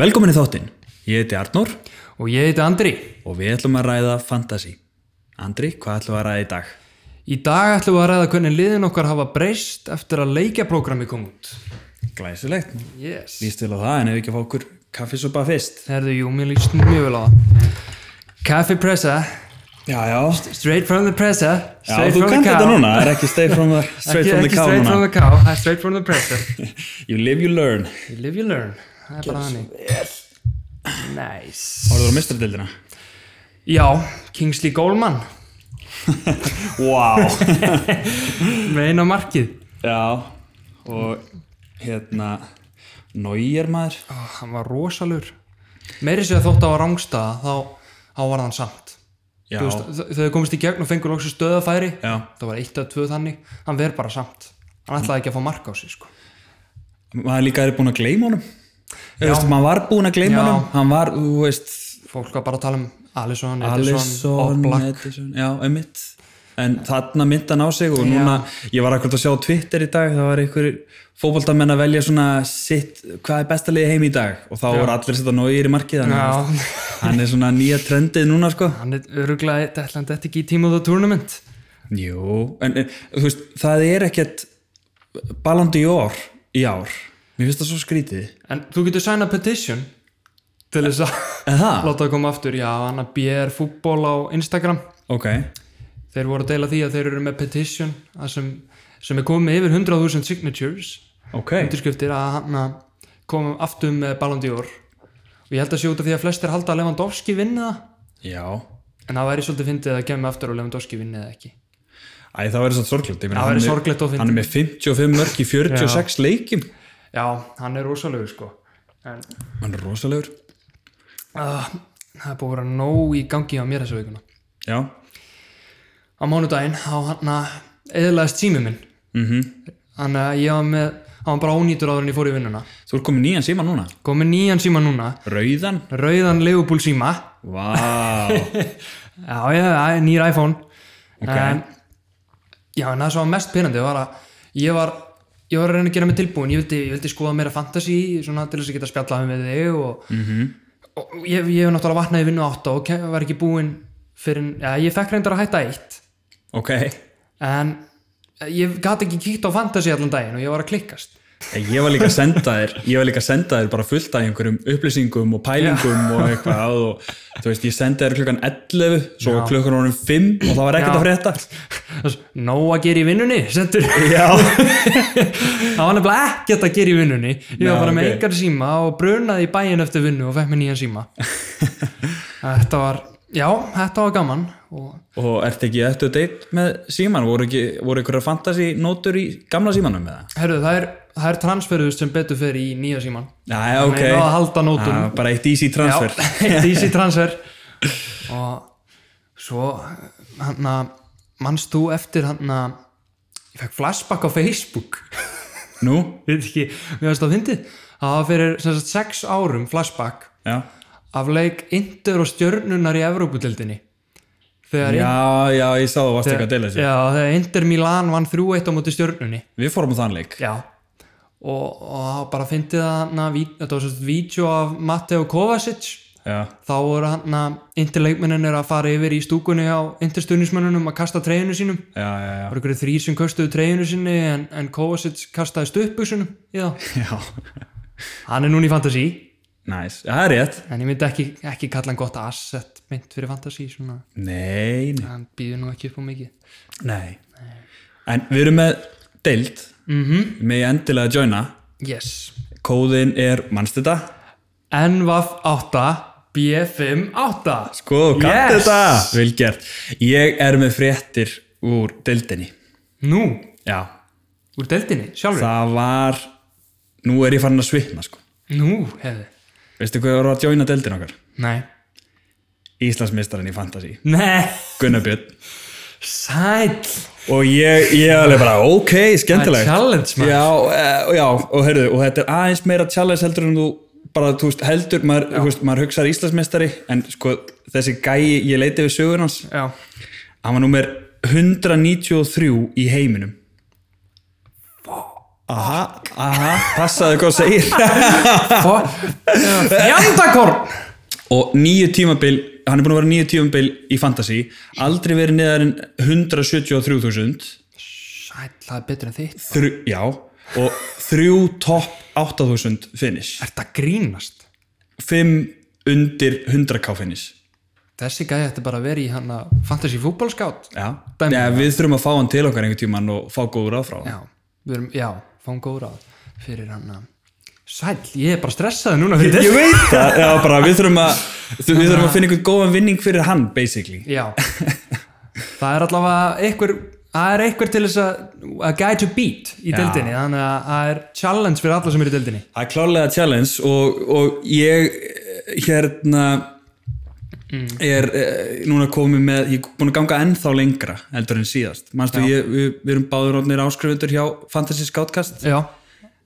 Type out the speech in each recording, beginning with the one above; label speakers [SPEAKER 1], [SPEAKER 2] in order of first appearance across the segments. [SPEAKER 1] Velkomin í þáttinn, ég heiti Arnór
[SPEAKER 2] Og ég heiti Andri.
[SPEAKER 1] og við ætlum að ræða fantasy. Andri, hvað ætlum við að ræða í dag?
[SPEAKER 2] Í dag ætlum við að ræða hvernig liðin okkar hafa breyst eftir að leikjaprógrami kom út.
[SPEAKER 1] Glæsilegt.
[SPEAKER 2] Yes.
[SPEAKER 1] Lýst til á það en ef við ekki að fá okkur kaffisopa fyrst.
[SPEAKER 2] Herðu, jú, mér líst mjög vel á það. Café Pressa,
[SPEAKER 1] Já, já.
[SPEAKER 2] straight from the Pressa,
[SPEAKER 1] Já,
[SPEAKER 2] straight
[SPEAKER 1] þú
[SPEAKER 2] from the
[SPEAKER 1] kannt
[SPEAKER 2] cow.
[SPEAKER 1] þetta núna, það er ekki straight from the, straight
[SPEAKER 2] ekki,
[SPEAKER 1] from the
[SPEAKER 2] ekki
[SPEAKER 1] cow
[SPEAKER 2] straight from
[SPEAKER 1] núna.
[SPEAKER 2] the cow, það er straight from the Pressa.
[SPEAKER 1] You live, you learn.
[SPEAKER 2] You live, you learn. Það er bara hannig. Nice.
[SPEAKER 1] Horður á mistardildina?
[SPEAKER 2] Já, Kingsley Goldman
[SPEAKER 1] Wow.
[SPEAKER 2] með eina markið.
[SPEAKER 1] já, og hérna, nógir maður.
[SPEAKER 2] Oh, hann var rosalur. Meiri sér að þótt á rángstaða, þá, þá var hann samt.
[SPEAKER 1] Já,
[SPEAKER 2] Þú veist, þ- þegar þau komist í gegn og fengur loksu stöðafæri
[SPEAKER 1] já. Mm.
[SPEAKER 2] það var eitt eða tvö þannig hann verð bara samt hann ætlaði ekki að fá mark á sig sko.
[SPEAKER 1] Maður líka er búin að gleyma honum. Þú
[SPEAKER 2] Já.
[SPEAKER 1] veist, maður var búin að gleyma
[SPEAKER 2] Já.
[SPEAKER 1] honum. Hann var, þú veist,
[SPEAKER 2] fólk var bara að tala um Alisson, Edison,
[SPEAKER 1] Alisson,
[SPEAKER 2] Oblak
[SPEAKER 1] Edison, já, einmitt en þarna myndi hann á sig og núna, ég var akkurat að sjá á Twitter í dag það var einhver fótboltamenn að velja svona sitt, hvað er besta liði heim í dag og þá voru allir að setja nógir í markið hann,
[SPEAKER 2] já,
[SPEAKER 1] hann er svona nýja trendið núna sko
[SPEAKER 2] hann er öruglega ætlaði þetta ekki í Team of the Tournament
[SPEAKER 1] Jú, en, en þú veist, það er ekkert balandi í ár í ár, mér finnst það svo skrítið
[SPEAKER 2] en þú getur sæna petition til þess að
[SPEAKER 1] en það,
[SPEAKER 2] láta það koma aftur já, hann að BR fútból á Instagram
[SPEAKER 1] ok
[SPEAKER 2] þeir voru að deila því að þeir eru með petition að sem, sem er komið með yfir 100.000 signatures
[SPEAKER 1] ok,
[SPEAKER 2] undirskriftir að hann að koma aftur með Ballon d'Or og ég held að sé út af því að flestir halda að Lewandowski vinni það
[SPEAKER 1] já
[SPEAKER 2] en það væri svolítið fyndið að kemja aftur og Lewandowski vinni það ekki
[SPEAKER 1] Æ, það verður svo sorglegt Ég meina,
[SPEAKER 2] Það
[SPEAKER 1] hann
[SPEAKER 2] væri
[SPEAKER 1] er-
[SPEAKER 2] sorglegt og fyndið.
[SPEAKER 1] Hann er með 55 mörg í 46 leikim
[SPEAKER 2] já, hann er rosalegur sko en
[SPEAKER 1] Hann er rosalegur.
[SPEAKER 2] uh, það er búið að vera nóg í gangi á mér þessa vikuna
[SPEAKER 1] Já.
[SPEAKER 2] á mánudaginn á hann að eðlaðist sími minn
[SPEAKER 1] Mm
[SPEAKER 2] þannig að ég var með hann var bara ónýtur áður en ég fór í vinnuna
[SPEAKER 1] Þú ert komið nýjan síma núna.
[SPEAKER 2] komið nýjan síma núna
[SPEAKER 1] Rauðan.
[SPEAKER 2] rauðan Leopold síma
[SPEAKER 1] Vá.
[SPEAKER 2] Já, já, já, nýr iPhone
[SPEAKER 1] Ok.
[SPEAKER 2] en, Já, en það sem var mest pyrrandi var að ég var ég var að reyna að gera mig tilbúin, ég vildi, ég vildi skoða meira fantasy, svona til þess að geta spjallað með þig og, og, og ég, ég hef náttúrulega vatnaði vinnu átta og ke- var ekki búin fyrir, já, ég fekk reyndar að hætta eitt
[SPEAKER 1] ok.
[SPEAKER 2] en ég gat ekki kíkt á fantasy allan daginn og ég var að klikkast
[SPEAKER 1] Ég var líka að senda þér, ég var líka að senda þér bara fullt af einhverjum upplýsingum og pælingum og eitthvað og þú veist, ég sendi þér klukkan 11, svo Já. klukkan orðin 5 og það var ekkert
[SPEAKER 2] Já.
[SPEAKER 1] að frétta.
[SPEAKER 2] Nó að gera í vinnunni, sendur
[SPEAKER 1] Já.
[SPEAKER 2] það var nefnilega ekkert að gera í vinnunni ég
[SPEAKER 1] Já,
[SPEAKER 2] var bara með
[SPEAKER 1] ok.
[SPEAKER 2] engar síma og brunaði í bæin eftir vinnu og fekk mér nýjan síma þetta var já, þetta var gaman og
[SPEAKER 1] Og ert ekki eftir deitt með síman? Voru, ekki, voru einhverja fantasy nótur í gamla símanum með það?
[SPEAKER 2] herru, það er, það er transferuðust sem betur fer í nýja síman
[SPEAKER 1] Já, ok.
[SPEAKER 2] Nei, náðu að halda nótum.
[SPEAKER 1] Já, bara eitt easy transfer.
[SPEAKER 2] já, easy transfer og svo hann að mannst þú eftir hann að ég fekk flashback á Facebook
[SPEAKER 1] Nú?
[SPEAKER 2] veit ekki, mér varst að fyndið það var fyrir sem sagt, sex árum flashback
[SPEAKER 1] Já.
[SPEAKER 2] af leik Inter og stjörnunar í Evróputildinni þegar,
[SPEAKER 1] Já, já, ég sá það varst ekki að deila þessu.
[SPEAKER 2] já, þegar Inter Milan vann 3-1 á móti stjörnunni
[SPEAKER 1] Við fórum á þann leik.
[SPEAKER 2] já. og, og þá bara fyndið að na, ví, þetta var svolítið vídeo af Mateo Kovacic
[SPEAKER 1] Já.
[SPEAKER 2] þá voru hann að Inter leikmennin er að fara yfir í stúkunni á Inter stjörnismennunum að kasta treyjunu sínum það
[SPEAKER 1] Já, já, já.
[SPEAKER 2] voru ykkur þrýr sem köstuðu treyjunu sinni en, en Kovacic kastaði stuppbúsunum já,
[SPEAKER 1] já.
[SPEAKER 2] hann er núna í fantasí
[SPEAKER 1] Næs, það er rétt.
[SPEAKER 2] en ég myndi ekki, ekki kalla hann gott asset mynd fyrir fantasí svona
[SPEAKER 1] Nei, nei.
[SPEAKER 2] hann býður nú ekki upp á mikið
[SPEAKER 1] nei. En við erum með deild, mm -hmm. með endilega að joina.
[SPEAKER 2] yes
[SPEAKER 1] Kóðin er, mannst þetta?
[SPEAKER 2] NVAF 8 B5 8
[SPEAKER 1] Sko, kannt
[SPEAKER 2] Yes!
[SPEAKER 1] þetta? Vel gert. Ég er með fréttir úr deildinni.
[SPEAKER 2] nú,
[SPEAKER 1] Já,
[SPEAKER 2] úr deildinni, sjálfur
[SPEAKER 1] það var, nú er ég farin að svitna, sko.
[SPEAKER 2] nú, hefði,
[SPEAKER 1] Veistu hvað voru að joina deildin okkar?
[SPEAKER 2] nei
[SPEAKER 1] Íslandsmeistarinn í Fantasí,
[SPEAKER 2] nei,
[SPEAKER 1] Gunnar Björn.
[SPEAKER 2] sæl
[SPEAKER 1] Og ég, ég alveg bara, ok, skemmtilegt.
[SPEAKER 2] challenge maður
[SPEAKER 1] já, eh, já, og heyrðu, og þetta er aðeins meira challenge heldur en þú bara, þú veist, heldur, maður, þú veist, maður hugsaðar Íslandsmeistari, en sko, þessi gæi, ég leiti við sögur hans,
[SPEAKER 2] já,
[SPEAKER 1] hann var númer 193 í heiminum. aha, aha, passaðu hvað þú segir
[SPEAKER 2] Fjandakorn
[SPEAKER 1] og nýju tímabil hann er búin að vera nýju tímabil í Fantasy aldrei verið neðar en 173.000
[SPEAKER 2] Sæll, það er betur en þitt
[SPEAKER 1] þrjú, já og þrjú topp 8000 finish
[SPEAKER 2] Ert að grínast
[SPEAKER 1] fimm undir 100k finish
[SPEAKER 2] Þessi gæði ætti bara að vera í hann að fantasy fútbolskátt
[SPEAKER 1] já.
[SPEAKER 2] Dæmi.
[SPEAKER 1] Já, við þurfum að fá hann til okkar einhvern tíman og fá góður ráð frá hann
[SPEAKER 2] Já, við erum, já, fáum góð ráð fyrir hann að Sæll, ég er bara stressaði núna fyrir
[SPEAKER 1] ég veit það, já, bara, við, þurfum að, við þurfum að finna einhvern góðan vinning fyrir hann basically
[SPEAKER 2] Já Það er allavega einhver það er einhver til þess að a guy to beat í deildinni, þannig að það er challenge fyrir alla sem eru í deildinni
[SPEAKER 1] Það er klárlega challenge og, og ég eh, hérna er eh, núna komið með, ég er búin að ganga ennþá lengra heldur en síðast. Manstu, ég, við, við erum báður orðnir áskrifundur hjá Fantasy Scoutkast
[SPEAKER 2] Já,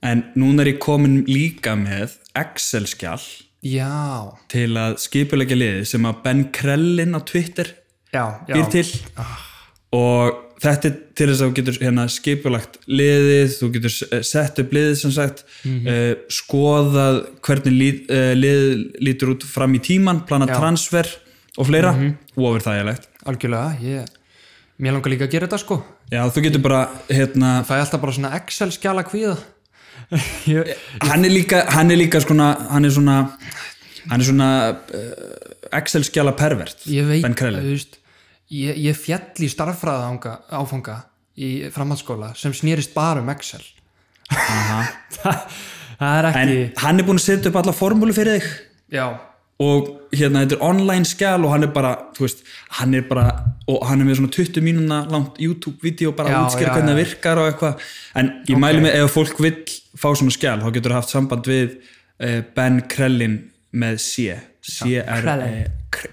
[SPEAKER 1] en núna er ég komin líka með Excel-skjall
[SPEAKER 2] já,
[SPEAKER 1] til að skipulegja liði sem að Ben Krellin á Twitter
[SPEAKER 2] já, já. Ah.
[SPEAKER 1] býr til og þetta er til þess að þú getur hérna, skipulagt liðið, þú getur eh, sett upp liðið sem sagt mm
[SPEAKER 2] Mhm.
[SPEAKER 1] skoðað hvernig líð, uh, liðið lítur út fram í tíman plana transfer og fleira mm
[SPEAKER 2] Mhm.
[SPEAKER 1] -hmm. ofurþægilegt
[SPEAKER 2] Algjörlega, ég Mér langar líka að gera þetta sko
[SPEAKER 1] Já, þú getur bara, hérna,
[SPEAKER 2] Fæ alltaf bara svona Excel skjala kvíða ég,
[SPEAKER 1] hann er líka hann er líka svona hann er svona, hann er svona uh, Excel-skjala pervert
[SPEAKER 2] ég veit
[SPEAKER 1] Ben Krelli
[SPEAKER 2] þú veist, ég, ég fjall í starffræða áfanga í framhaldsskóla sem snýrist bara um Excel það, það er
[SPEAKER 1] en
[SPEAKER 2] ekki
[SPEAKER 1] hann er búin að setja upp alla formúlu fyrir þig
[SPEAKER 2] Já,
[SPEAKER 1] og hérna þetta er online skjál og hann er bara, þú veist, hann er bara og hann er með svona 20 mínúna langt YouTube-vídeó bara
[SPEAKER 2] Já,
[SPEAKER 1] að útskýra
[SPEAKER 2] já,
[SPEAKER 1] hvernig það
[SPEAKER 2] já.
[SPEAKER 1] virkar og eitthvað en ég mæli mig ef fólk vill fá svona skjál þá getur það haft samband við uh, Ben Krellin með C C-R-E
[SPEAKER 2] Krellin.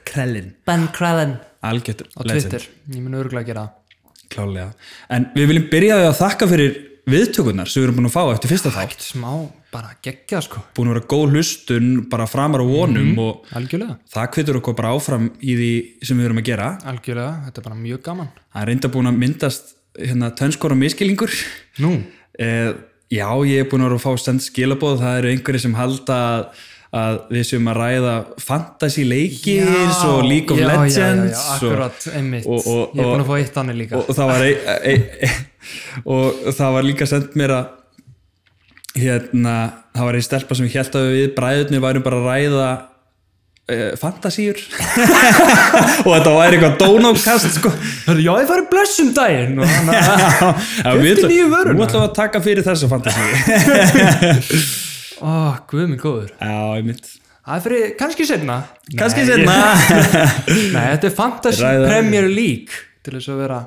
[SPEAKER 1] Krellin
[SPEAKER 2] Ben Krellen
[SPEAKER 1] algjört
[SPEAKER 2] á Twitter, ég mun örgulega að gera það
[SPEAKER 1] klálega en við viljum byrja á að þakka fyrir viðtökunar sem við erum búin að fá eftir fyrsta þátt
[SPEAKER 2] ekkert smá, bara geggjað sko
[SPEAKER 1] búin að vera góð hlustun bara framar á vonum
[SPEAKER 2] Mhm.
[SPEAKER 1] og
[SPEAKER 2] algjörlega,
[SPEAKER 1] það hvetur okkur bara áfram í því sem við erum að gera
[SPEAKER 2] algjörlega, þetta er bara mjög gaman
[SPEAKER 1] Það er reynda búin að myndast hérna, tönskor og miskilingur.
[SPEAKER 2] nú,
[SPEAKER 1] Eh, já, ég er búin að vera að fá stend skilabóð. Það eru einhverjir sem halda að, að við séum að ræða fantasy leiki eins og League of
[SPEAKER 2] já,
[SPEAKER 1] Legends.
[SPEAKER 2] já, já, já,
[SPEAKER 1] og-
[SPEAKER 2] akkurat, einmitt
[SPEAKER 1] og- og-
[SPEAKER 2] ég er búin
[SPEAKER 1] og-
[SPEAKER 2] að fá eitt annir líka
[SPEAKER 1] og, og, það var, ein, ein, ein, og það var líka sendt mér að hérna, það var ein stelpa sem held að við bræðurnir værum bara að ræða uh, fantasíur og þetta væri eitthvað dónákast sko
[SPEAKER 2] Hörru, já, ég farið
[SPEAKER 1] um
[SPEAKER 2] blessum daginn og hann að
[SPEAKER 1] Já, við ætlum-
[SPEAKER 2] nýju vöruna.
[SPEAKER 1] Nú ætlum við að taka fyrir þessa fantasíu
[SPEAKER 2] Ó, guð minn góður.
[SPEAKER 1] Já, einmitt
[SPEAKER 2] Það er fyrir, kannski setna.
[SPEAKER 1] Kanski
[SPEAKER 2] Nei,
[SPEAKER 1] setna
[SPEAKER 2] ég- Nei, þetta er Fantasy
[SPEAKER 1] Ræða-
[SPEAKER 2] Premier League til þess að vera...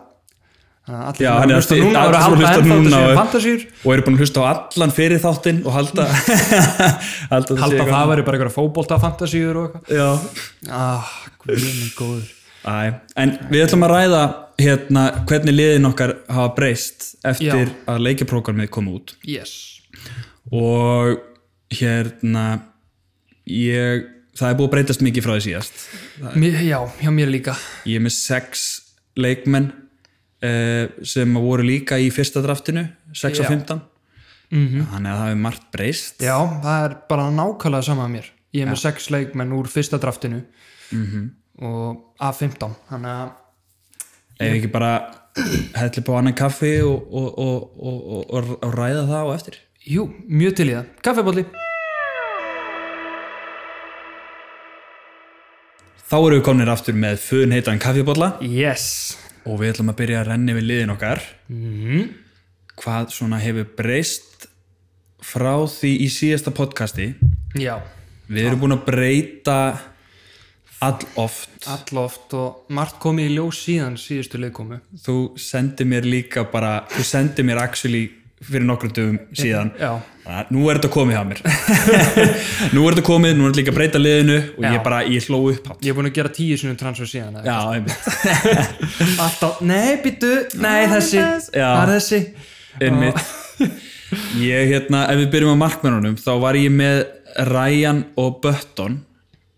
[SPEAKER 2] Þannig að
[SPEAKER 1] Já, hann
[SPEAKER 2] allir sem eru
[SPEAKER 1] er
[SPEAKER 2] að hlusta
[SPEAKER 1] allt-
[SPEAKER 2] núna
[SPEAKER 1] allir
[SPEAKER 2] eru að
[SPEAKER 1] sem
[SPEAKER 2] halda
[SPEAKER 1] hlusta
[SPEAKER 2] ennþá
[SPEAKER 1] núna
[SPEAKER 2] þetta séu
[SPEAKER 1] og-
[SPEAKER 2] fantasíur.
[SPEAKER 1] og eru búin að hlusta á allan fyrir þáttinn og halda halda, sé
[SPEAKER 2] Halda
[SPEAKER 1] eitthvað-
[SPEAKER 2] það væri bara einhverja fótbolta fantasíur og eitthvað.
[SPEAKER 1] Já
[SPEAKER 2] Ah, guð minn góður.
[SPEAKER 1] Æ, en við ætlum að ræða hérna, hvernig liðin okkar hafa breyst eftir
[SPEAKER 2] Já.
[SPEAKER 1] að leikjaprógramið kom út
[SPEAKER 2] Yes.
[SPEAKER 1] og hérna ég, það er búið að breytast mikið frá því síðast
[SPEAKER 2] Mér, já, hjá mér líka.
[SPEAKER 1] ég er með sex leikmenn uh, sem voru líka í fyrsta draftinu 6
[SPEAKER 2] Já. Mhm.
[SPEAKER 1] og 15 þannig að það hefur margt breyst
[SPEAKER 2] Já, það er bara nákvæmlega sama að mér. Ég er með sex leikmenn úr fyrsta draftinu Mhm. og A15. Þannig að
[SPEAKER 1] ef ekki bara helli på annan kaffi og, og, og, og, og, og ræða það á eftir
[SPEAKER 2] Jú, mjög til í það. Kaffebólli.
[SPEAKER 1] þá erum við komnir aftur með funheitan kaffibólla
[SPEAKER 2] Yes.
[SPEAKER 1] og við ætlum að byrja að renni við liðin okkar
[SPEAKER 2] Mhm.
[SPEAKER 1] hvað svona hefur breyst frá því í síðasta podcasti
[SPEAKER 2] Já,
[SPEAKER 1] við erum búin að breyta all oft
[SPEAKER 2] alloft og margt komið í ljós síðan síðustu leikkomu.
[SPEAKER 1] þú sendi mér líka bara þú sendi mér actually fyrir nokkrum dögum síðan
[SPEAKER 2] Já.
[SPEAKER 1] Að, nú er þetta komið hjá mér nú er þetta komið, nú er þetta líka að breyta liðinu og ég bara, ég hló upp hátt
[SPEAKER 2] Ég er búin að gera tíu sinum transfer síðan. eða?
[SPEAKER 1] já, einmitt,
[SPEAKER 2] Alltaf, nei, byttu, nei, þessi,
[SPEAKER 1] Já.
[SPEAKER 2] það er þessi.
[SPEAKER 1] einmitt. ég hérna, ef við byrjum á markmennunum þá var ég með Ryan og Button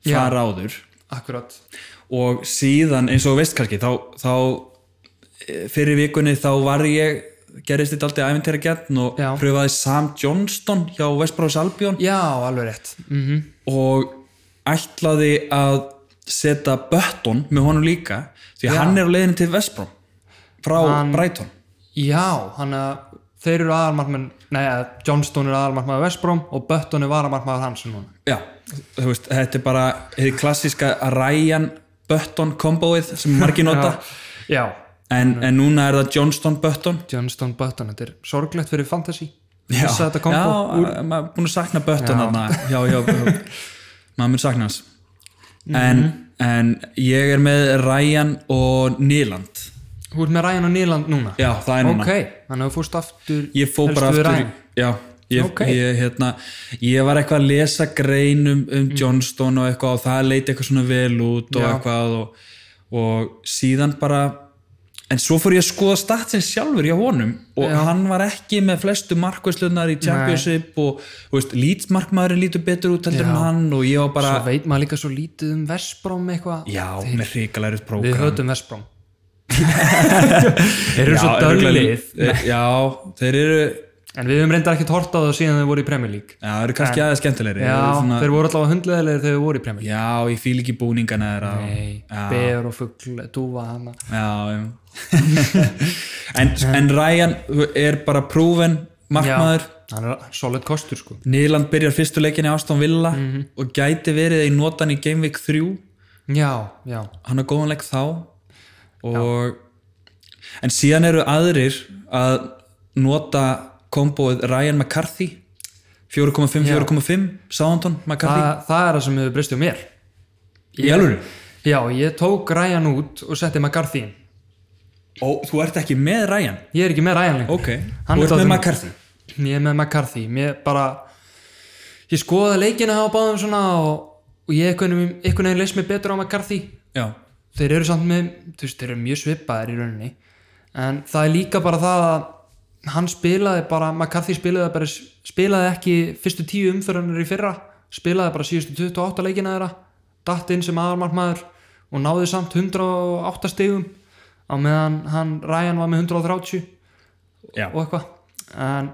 [SPEAKER 2] Já.
[SPEAKER 1] fara áður
[SPEAKER 2] Akkurat.
[SPEAKER 1] og e, síðan eins og þú veist kannski þá, þá eh, fyrir vikunni þá var ég gerðist þetta aldrei æfintæra gætn og
[SPEAKER 2] Já.
[SPEAKER 1] pröfaði Sam Johnston hjá Vestbróðs Albion
[SPEAKER 2] já, alveg rétt mm
[SPEAKER 1] og ætlaði að setja Bötton með honum líka því að hann er á leiðinu til Vestbróm frá Brighton
[SPEAKER 2] já, hann að þeir eru aðalmarkmann, neða, Johnston er aðalmarkmann af Vestbrom og Bötton er varamarkmann af hans núna
[SPEAKER 1] Já, þú veist, þetta er bara hið klassíska Ryan Bötton komboið sem margir nota
[SPEAKER 2] já,
[SPEAKER 1] en, en núna er það Johnston Bötton
[SPEAKER 2] Johnston Bötton, þetta er sorglegt fyrir fantasy
[SPEAKER 1] Já,
[SPEAKER 2] Missa þetta kombo
[SPEAKER 1] já, eh,
[SPEAKER 2] úr-
[SPEAKER 1] maður er búin að sakna Bötton þarna Já, já, maður mun sakna hans en,
[SPEAKER 2] Mhm.
[SPEAKER 1] en ég er með Ryan og Nýland
[SPEAKER 2] Þú ert með Ryan og Nýland núna?
[SPEAKER 1] Já, það er núna
[SPEAKER 2] Ok, þannig að þú fórst aftur
[SPEAKER 1] ég fó
[SPEAKER 2] helstu
[SPEAKER 1] bara
[SPEAKER 2] við
[SPEAKER 1] aftur
[SPEAKER 2] Ryan.
[SPEAKER 1] já, ég,
[SPEAKER 2] Ok.
[SPEAKER 1] ég, hérna, ég var eitthvað að lesa greinum um Johnston og eitthvað og það leiti eitthvað svona vel út og
[SPEAKER 2] Mm. Já.
[SPEAKER 1] eitthvað og, og síðan bara en svo fór ég að skoða statsin sjálfur hjá honum og hann var ekki með flestu markvæslunar í championship og þú veist, lýtsmarkmaðurinn lítur betur út heldur en hann og ég var bara
[SPEAKER 2] Svo veit maður líka svo lítið um Vestbrom eitthvað
[SPEAKER 1] já, með hrikalæri prógram
[SPEAKER 2] Við höfðum Vestbrom Þeir eru svo
[SPEAKER 1] örugglega
[SPEAKER 2] döllið
[SPEAKER 1] lið. já, þeir eru
[SPEAKER 2] En við höfum reyndar ekkert hort á það síðan þau voru í Premier League
[SPEAKER 1] já, þeir eru kannski aðeins skemmtilegri Þeir
[SPEAKER 2] Já,
[SPEAKER 1] eru svona-
[SPEAKER 2] þeir voru allavega hundleðilegir þegar þau voru í Premier League
[SPEAKER 1] Já, ég fíl ekki búningana þeirra
[SPEAKER 2] Nei,
[SPEAKER 1] Já.
[SPEAKER 2] beður og fuggl, dúfa hana
[SPEAKER 1] Já, já. en, en Ryan er bara prúven markmaður
[SPEAKER 2] Hann er solid kostur sko
[SPEAKER 1] Nýland byrjar fyrstu leikinni Aston Villa
[SPEAKER 2] Mhm.
[SPEAKER 1] og gæti verið í notan í Game Week 3
[SPEAKER 2] Já, já,
[SPEAKER 1] hann er góðan leik þá og en síðan eru aðrir að nota komboið Ryan McCarthy 4.5, 4.5 Southampton McCarthy
[SPEAKER 2] Þa, það er það sem hefur breyst hjá mér
[SPEAKER 1] Í alvöru?
[SPEAKER 2] Já, ég tók Ryan út og setti McCarthy inn
[SPEAKER 1] Ó, þú ert ekki með Ryan
[SPEAKER 2] Ég er ekki með Ryan lengur
[SPEAKER 1] Ok,
[SPEAKER 2] Hann
[SPEAKER 1] þú
[SPEAKER 2] er
[SPEAKER 1] ert með
[SPEAKER 2] dálítið-
[SPEAKER 1] McCarthy
[SPEAKER 2] Ég er með McCarthy Mér bara Ég skoðaði leikina á báðum svona og, og ég einhvern veginn- einhvern veginn leist mér betur á McCarthy
[SPEAKER 1] Já,
[SPEAKER 2] Þeir eru samt með þú veist, Þeir eru mjög svipaðir í rauninni En það er líka bara það að hann spilaði bara, McCarthy spilaði bara spilaði ekki fyrstu tíu umfyrunar í fyrra spilaði bara síðustu 28 leikina þeirra datt inn sem aðarmarkmaður og náði samt 108 stegum á meðan hann Ryan var með 130
[SPEAKER 1] já
[SPEAKER 2] og eitthvað en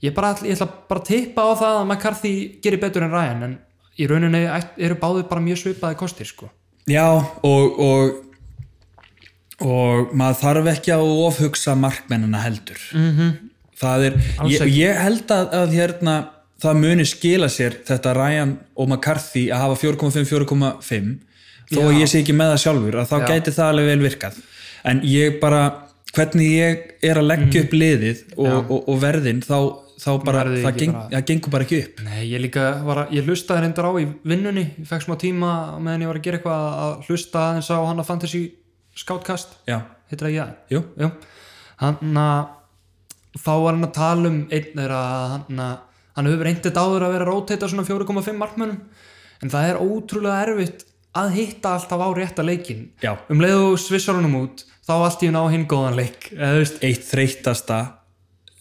[SPEAKER 2] ég, bara, ætla- ég ætla bara að tippa á það að McCarthy gerir betur en Ryan en í rauninni ætt- eru báðir bara mjög svipaði kostir sko.
[SPEAKER 1] Já, og, og og maður þarf ekki að ofhugsa markmennina heldur -hmm. það er, ég,
[SPEAKER 2] Mhm. ekki.
[SPEAKER 1] ég held að, að hérna, það muni skila sér þetta Ryan og McCarthy að hafa 4.5, 4.5 þó að ég sé ekki með það sjálfur að þá gæti það alveg vel virkað en ég bara, hvernig ég er að
[SPEAKER 2] Mhm.
[SPEAKER 1] leggja upp liðið og, og, og verðin þá, þá bara,
[SPEAKER 2] Verðið
[SPEAKER 1] það
[SPEAKER 2] ekki
[SPEAKER 1] geng,
[SPEAKER 2] bara-
[SPEAKER 1] bara... gengur bara ekki upp
[SPEAKER 2] Nei, ég líka var að, ég hlustaði reyndar á í vinnunni, ég fekk smá tíma á meðan ég var að gera eitthvað að hlusta aðeins á hann að fantasy skátkast
[SPEAKER 1] Já,
[SPEAKER 2] heitir það ég það?
[SPEAKER 1] jú,
[SPEAKER 2] Jú, hann að þá var hann að tala um einn þeirra að hann að hann hefur reyndið áður að vera að rótita svona 4,5 markmönnum en það er ótrúlega erfitt að hitta alltaf á rétta leikin
[SPEAKER 1] Já.
[SPEAKER 2] um leið og svissar honum út þá allt í hún á hinn góðan leik eða þú veist,
[SPEAKER 1] eitt þreytasta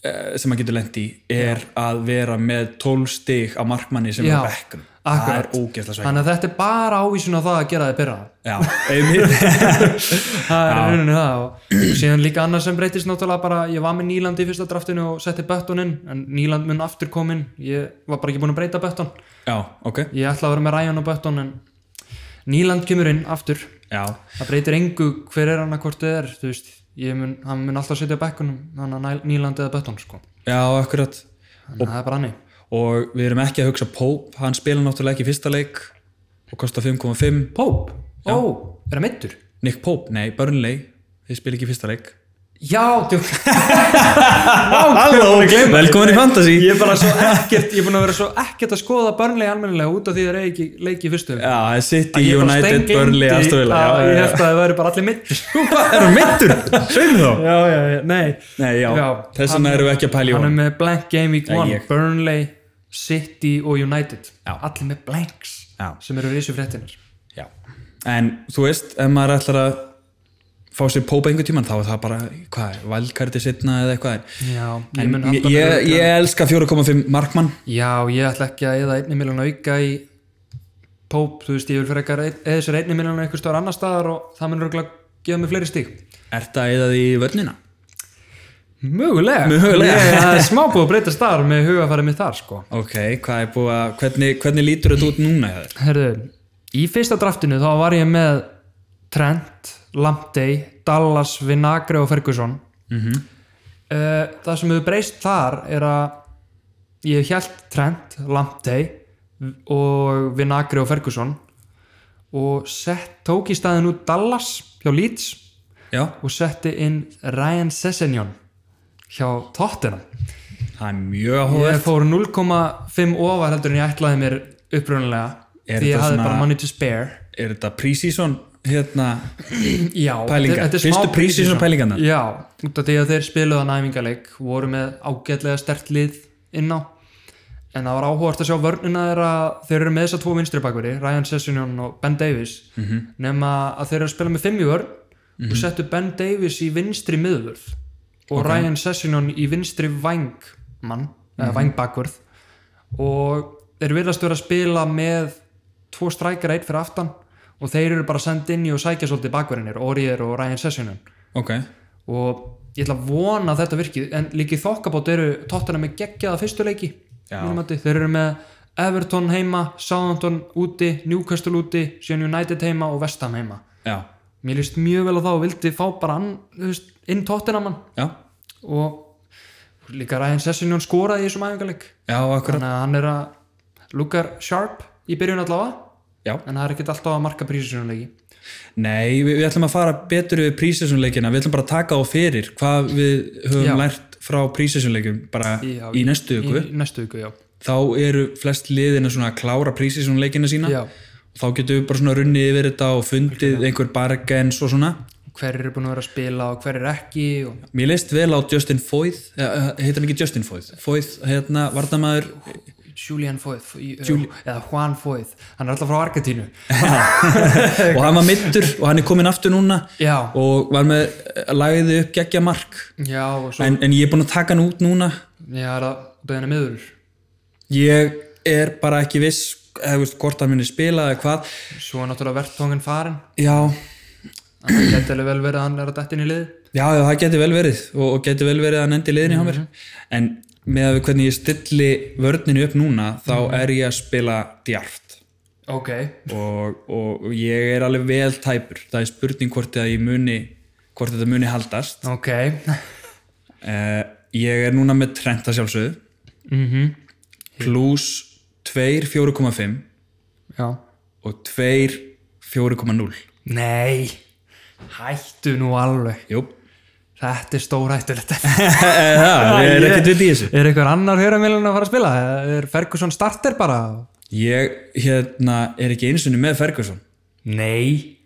[SPEAKER 1] eh, sem maður getur lent í er að vera með 12 stig á markmanni sem
[SPEAKER 2] Já,
[SPEAKER 1] er á bekknum það er
[SPEAKER 2] akkurat.
[SPEAKER 1] ógeðslega sveik
[SPEAKER 2] þannig að þetta er bara ávísun á það að gera þið byrra
[SPEAKER 1] Já, einmitt.
[SPEAKER 2] það er rauninni það og síðan líka annað sem breytist náttúrulega bara ég var með Nýland í fyrsta draftinu og setti böttuninn en Nýland mun aftur komin ég var bara ekki búin að breyta böttun
[SPEAKER 1] Já, ok
[SPEAKER 2] ég ætla að vera með Ryan og Button en Nýland kemur inn aftur
[SPEAKER 1] Já,
[SPEAKER 2] það breytir engu hver er hann að hvort þið er þú veist, ég mun, hann mun alltaf setja á bekkunum hann að Nýland eða Button sko
[SPEAKER 1] já, akkurat
[SPEAKER 2] þannig að það er bara hannig
[SPEAKER 1] og við erum ekki að hugsa Pope hann spila náttúrulega ekki í fyrsta leik og kostar 5,5
[SPEAKER 2] Pope, ó, er það meittur?
[SPEAKER 1] Nick Pope, nei, Burnley þið spila ekki í fyrsta leik
[SPEAKER 2] Já, djók
[SPEAKER 1] Halló, velkomin í Fantasy
[SPEAKER 2] ég er bara svo ekkert ég er búin að vera svo ekkert að skoða börnlega almennilega út af því þeir eru ekki leiki í fyrstu
[SPEAKER 1] Já, City,
[SPEAKER 2] Ég er bara
[SPEAKER 1] United,
[SPEAKER 2] steingleymdi
[SPEAKER 1] Burnley, Aston Villa
[SPEAKER 2] að
[SPEAKER 1] Já, já,
[SPEAKER 2] Ég
[SPEAKER 1] já.
[SPEAKER 2] held að það væri bara allir mittur
[SPEAKER 1] Hvað, erum mittur? Sveinu þá?
[SPEAKER 2] Já, já, já, nei
[SPEAKER 1] Nei, já,
[SPEAKER 2] Já,
[SPEAKER 1] þess vegna erum við ekki að pæla í
[SPEAKER 2] hann er
[SPEAKER 1] honum
[SPEAKER 2] með blank Game Week 1
[SPEAKER 1] ég.
[SPEAKER 2] Burnley, City og United
[SPEAKER 1] Já.
[SPEAKER 2] allir með blanks
[SPEAKER 1] Já.
[SPEAKER 2] sem eru risu fréttinir
[SPEAKER 1] Já. En þú veist, ef maður ætlar að fá sér pópa einhver tíman þá er það bara, hvað, valkarti sitna eða eitthvað er.
[SPEAKER 2] já, ég
[SPEAKER 1] En
[SPEAKER 2] mun halda
[SPEAKER 1] ég,
[SPEAKER 2] mér
[SPEAKER 1] ég,
[SPEAKER 2] örugglega-
[SPEAKER 1] ég elska 4,5 markmann
[SPEAKER 2] já, ég ætla ekki að eða einni miljón auka í Pope, þú veist, ég vil fyrir eitthvað eða þessar einni miljón eitthvað stór annar staðar og það mun röglega gefa mig fleiri stík
[SPEAKER 1] Er það eða því í vörnina?
[SPEAKER 2] Mögulega,
[SPEAKER 1] Mögulega.
[SPEAKER 2] Ég- Það er smá búið að breytast þar með hugafarið mitt þar sko
[SPEAKER 1] Ok, hvað er búið að, hvernig, hvernig lítur þetta út núna hjá þér?
[SPEAKER 2] Herðu, í fyrsta draftinu þá var ég með Trent, Lamptey, Dallas, Vinagre og Ferguson Mhm. uh, Það sem hefur breyst þar er að ég hef hjælt Trent, Lamptey og Vinagre og Ferguson og sett, tók í staðin út Dallas hjá Leeds
[SPEAKER 1] Já,
[SPEAKER 2] og setti inn Ryan Sessegnon hjá Tottenham
[SPEAKER 1] það er mjög
[SPEAKER 2] Ég
[SPEAKER 1] áhugað.
[SPEAKER 2] fór 0,5 ofar heldur en ég ætlaði mér upprunalega
[SPEAKER 1] Er
[SPEAKER 2] því ég
[SPEAKER 1] þetta
[SPEAKER 2] hafði
[SPEAKER 1] svona-
[SPEAKER 2] bara money to spare
[SPEAKER 1] Er þetta pre-season, hérna,
[SPEAKER 2] Já,
[SPEAKER 1] Pælingar.
[SPEAKER 2] þetta er- þetta er smá
[SPEAKER 1] Fyrstu pre-season pælingarnar?
[SPEAKER 2] Já, út af því að þeir spiluðu að næmingaleik voru með ágætlega stert lið inn á en það var áhugast að sjá vörnina þeirra þeir eru með þessa tvo vinstri bakveri Ryan Sessegnon og Ben Davies nema að þeir eru að spila með fimm í vörn og settu Ben Davies í vinstri miðvörð og Ryan Sessegnon í vinstri vangmann eða vangbakvörð og þeir virðast vera að spila með tvo strækara eitt fyrir aftan og þeir eru bara sendt inn í og sækja svolítið bakverðinir, Orier og Ryan Sessegnon
[SPEAKER 1] ok,
[SPEAKER 2] og ég ætla að vona að þetta virki en líki þokkabót eru tóttina með geggjaða fyrstu leiki
[SPEAKER 1] Já.
[SPEAKER 2] mínum mati. þeir eru með Everton heima Southampton úti, Newcastle úti síðan United heima og West Ham heima
[SPEAKER 1] já,
[SPEAKER 2] mér líst mjög vel á þá og vildi fá bara ann, þú veist, inn tóttina mann
[SPEAKER 1] já,
[SPEAKER 2] og líka Ryan Sessegnon skoraði í þessum æfingarleik
[SPEAKER 1] já, akkurat,
[SPEAKER 2] þannig að hann er að lukkar sharp í byrjun allavega
[SPEAKER 1] já.
[SPEAKER 2] en það er ekkert alltaf að marka prísisunleiki
[SPEAKER 1] Nei, við, við ætlum að fara betur við prísessjónleikina, við ætlum bara að taka á fyrir hvað við höfum
[SPEAKER 2] Já.
[SPEAKER 1] lært frá prísessjónleikum bara
[SPEAKER 2] Já,
[SPEAKER 1] í næstu
[SPEAKER 2] í
[SPEAKER 1] ykkur.
[SPEAKER 2] næstu viku, já,
[SPEAKER 1] Þá eru flest liðina svona að klára prísessjónleikina sína
[SPEAKER 2] já.
[SPEAKER 1] og þá getum við bara svona runnið yfir þetta og fundið einhver bargains og svona.
[SPEAKER 2] hver eru búin að vera að spila og hver er ekki og...
[SPEAKER 1] Mér leist vel á Justin Foyth, eh, heitir hann ekki Justin Foyth? Foyth, hérna, vartamæður,
[SPEAKER 2] Julian Foyth Juli... eða Juan Foyth, hann er alltaf frá Argentínu
[SPEAKER 1] og hann var mittur og hann er komin aftur núna
[SPEAKER 2] já,
[SPEAKER 1] og var með, lagði upp geggja mark
[SPEAKER 2] já og svo
[SPEAKER 1] en, en ég er búin að taka hann út núna
[SPEAKER 2] já, er það beðinu miður
[SPEAKER 1] ég er bara ekki viss eða veist hvort hann minni spila eða hvað
[SPEAKER 2] svo er náttúrulega verðtóngin farin
[SPEAKER 1] já,
[SPEAKER 2] það geti alveg vel verið að hann er að dættin í lið
[SPEAKER 1] já, já, það geti vel verið og, og geti vel verið að hann endi í liðinni hjá mér en með að við hvernig ég stilli vörninu upp núna þá er ég að spila djart
[SPEAKER 2] ok,
[SPEAKER 1] og, og ég er alveg vel tæpur það er spurning hvort að ég muni hvort þetta muni haldast
[SPEAKER 2] ok
[SPEAKER 1] uh, ég er núna með Trenta sjálfsögðu
[SPEAKER 2] mm
[SPEAKER 1] pluss 2 4,5
[SPEAKER 2] já
[SPEAKER 1] og 2 4,0
[SPEAKER 2] nei, hættu nú alveg
[SPEAKER 1] jú,
[SPEAKER 2] Þetta er stórhættulegt
[SPEAKER 1] það er ekkert við í þessu
[SPEAKER 2] Er einhver annar höramilun að fara að spila? Er Ferguson starter bara?
[SPEAKER 1] Ég hérna er ekki einu sinni með Ferguson
[SPEAKER 2] Nei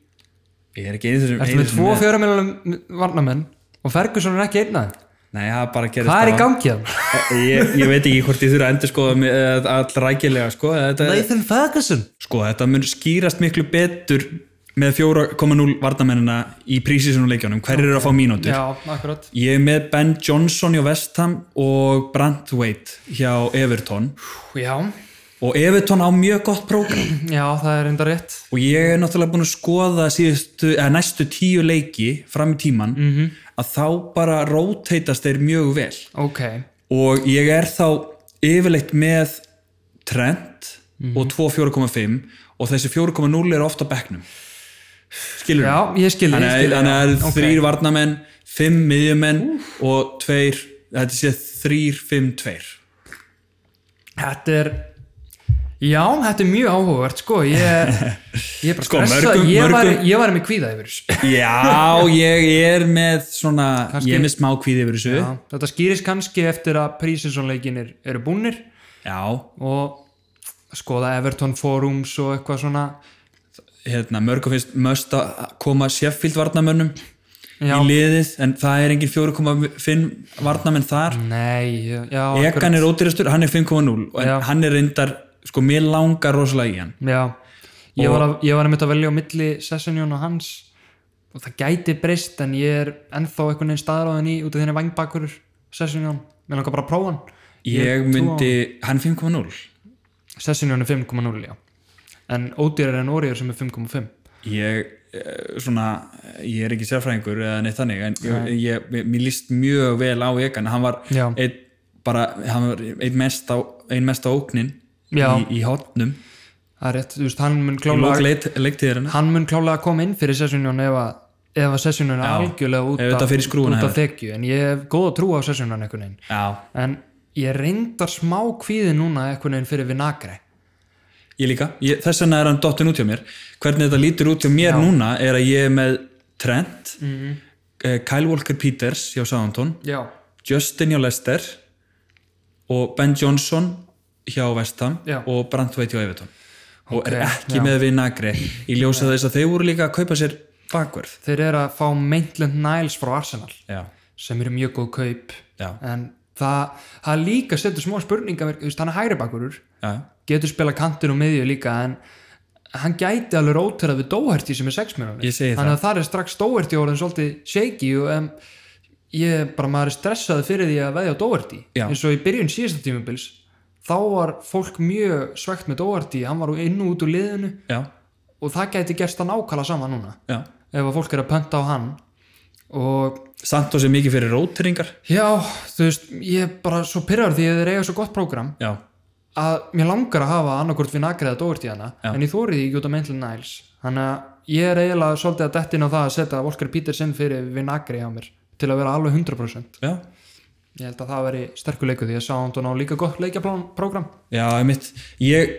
[SPEAKER 1] Ég er ekki einu sinni,
[SPEAKER 2] Ertu
[SPEAKER 1] einu sinni
[SPEAKER 2] með tvo höramilunum varnamenn og Ferguson er ekki einnað
[SPEAKER 1] Nei, það bara gerist
[SPEAKER 2] Hvað er
[SPEAKER 1] bara-
[SPEAKER 2] í
[SPEAKER 1] Eh,
[SPEAKER 2] gangi hann?
[SPEAKER 1] Ég, ég veit ekki hvort ég þurfa að endur skoða all rækilega sko. Þetta,
[SPEAKER 2] Nathan Ferguson
[SPEAKER 1] sko, þetta mun skýrast miklu betur með 4,0 vardamennina í prísísunum leikjónum hverjir eru að fá mínútur
[SPEAKER 2] Já, akkurat
[SPEAKER 1] Ég er með Ben Johnson hjá West Ham og Brandwaite hjá Everton
[SPEAKER 2] Já,
[SPEAKER 1] og Everton á mjög gott prógram
[SPEAKER 2] já það er enda rétt
[SPEAKER 1] og ég er náttúrulega búin að skoða síðustu, eða næstu tíu leiki fram í tíman -hmm.
[SPEAKER 2] Mhm.
[SPEAKER 1] að þá bara róteitast þeir mjög vel
[SPEAKER 2] Ok,
[SPEAKER 1] og ég er þá yfirleitt með Trent og
[SPEAKER 2] Mhm.
[SPEAKER 1] 2.4.5 og þessi 4.0 eru ofta bekknum skilur
[SPEAKER 2] já, ég skil ég skil-
[SPEAKER 1] þannig að það eru
[SPEAKER 2] Ok.
[SPEAKER 1] þrýr varnamenn fimm miðjumenn og tveir þetta sé þrýr, fimm, tveir
[SPEAKER 2] Þetta er Já, þetta er mjög áhugavert sko Ég, ég er bara
[SPEAKER 1] Sko,
[SPEAKER 2] stressað
[SPEAKER 1] mörgum-
[SPEAKER 2] ég, var,
[SPEAKER 1] mörgum-
[SPEAKER 2] ég var með kvíða yfir þessu
[SPEAKER 1] já, ég er með svona, ég er með smá kvíði yfir þessu já,
[SPEAKER 2] Já, þetta skýrist kannski eftir að prísinsónleikinir eru búnir og skoða Everton forums og eitthvað svona
[SPEAKER 1] hérna, mörgum finnst möst að koma Sheffield varnamönnum
[SPEAKER 2] já,
[SPEAKER 1] í liðið, en það er engin 4,5 varnamenn þar
[SPEAKER 2] nei, já, já, akkurat.
[SPEAKER 1] Egan er ódýrastur, hann er 5,0 en
[SPEAKER 2] Já.
[SPEAKER 1] hann er reyndar, sko, mér langar rosalega í hann
[SPEAKER 2] já. Ég, var að, ég var einmitt að velja á milli Sessenjón og hans og það gæti breyst en ég er ennþá einhvern veginn staðráðin í út af þenni vangbakurur Sessenjón, mér langar bara að prófa hann
[SPEAKER 1] ég
[SPEAKER 2] trúi á
[SPEAKER 1] myndi, hann 5,0
[SPEAKER 2] Sessenjón er 5.0 já en ódýrar en Oriður sem er 5.5
[SPEAKER 1] ég eh, svona, ég er ekki sérfræðingur eða neitt þannig, en ég, ég, mér- mér líst mjög vel á Egan, hann var
[SPEAKER 2] Já.
[SPEAKER 1] einn bara, hann var einn mesta einn mesta óknin
[SPEAKER 2] Já.
[SPEAKER 1] í, í hotnum,
[SPEAKER 2] það er rétt, þú veist, hann mun klála
[SPEAKER 1] leiktíðurinn
[SPEAKER 2] hann mun klálega að koma inn fyrir sessjónun ef að ef að sessjónun er algjörlega út
[SPEAKER 1] Ef þetta fyrir skrúfuna hérna.
[SPEAKER 2] út af þekju, en ég hef góð að trúa á sessjónun einhvern veginn,
[SPEAKER 1] Já,
[SPEAKER 2] en ég reyndar smá kvíði núna einhvern veginn fyrir Vinagre
[SPEAKER 1] ég líka, ég, þess vegna er hann dottin út hjá mér hvernig þetta lítur út hjá mér núna er að ég er með Trent mm
[SPEAKER 2] Mhm.
[SPEAKER 1] Kyle Walker Peters hjá Southampton
[SPEAKER 2] já,
[SPEAKER 1] Justin hjá Leicester og Ben Johnson hjá Vestham
[SPEAKER 2] Já.
[SPEAKER 1] og Brandtveit hjá Everton og er
[SPEAKER 2] Ok,
[SPEAKER 1] ekki með vinagri í ljósa þess að þeir voru líka að kaupa sér bakverð
[SPEAKER 2] þeir eru að fá Maitland Niles frá Arsenal
[SPEAKER 1] já,
[SPEAKER 2] sem eru mjög góð kaup
[SPEAKER 1] já,
[SPEAKER 2] en það, það líka setur smá spurningar þú veist, hann er hægri bakurur
[SPEAKER 1] já,
[SPEAKER 2] getur spila kantin og miðju líka en hann gæti alveg róterað við Dóherty sem er 6 minúni
[SPEAKER 1] Ég segi það.
[SPEAKER 2] þannig að það er strax Dóherty orðin svolítið shaky og um, ég bara maður er stressað fyrir því að veðja á Dóherty
[SPEAKER 1] Já.
[SPEAKER 2] eins og í byrjun síðasta tímubils þá var fólk mjög svegt með Dóherty hann var inn og út úr liðinu
[SPEAKER 1] já,
[SPEAKER 2] og það gæti gerst að nákala sama núna
[SPEAKER 1] já.
[SPEAKER 2] ef að fólk er að pönta á hann og
[SPEAKER 1] samt og sem mikið fyrir róteringar
[SPEAKER 2] já, þú veist ég er bara svo pyrrar því að þeir eiga svo gott prógram
[SPEAKER 1] já,
[SPEAKER 2] að mér langar að hafa annarkort vinagri eða dóvert í hana
[SPEAKER 1] Já.
[SPEAKER 2] en ég þórið því ekki út af Maitland Niles þannig að ég er eiginlega svolítið að detti inn á það að setja Volker Petersen fyrir vinagri á mér til að vera alveg 100%
[SPEAKER 1] já,
[SPEAKER 2] ég held að það veri sterkur leikur því að sá hann á líka gott leikjaprógram
[SPEAKER 1] já, einmitt ég,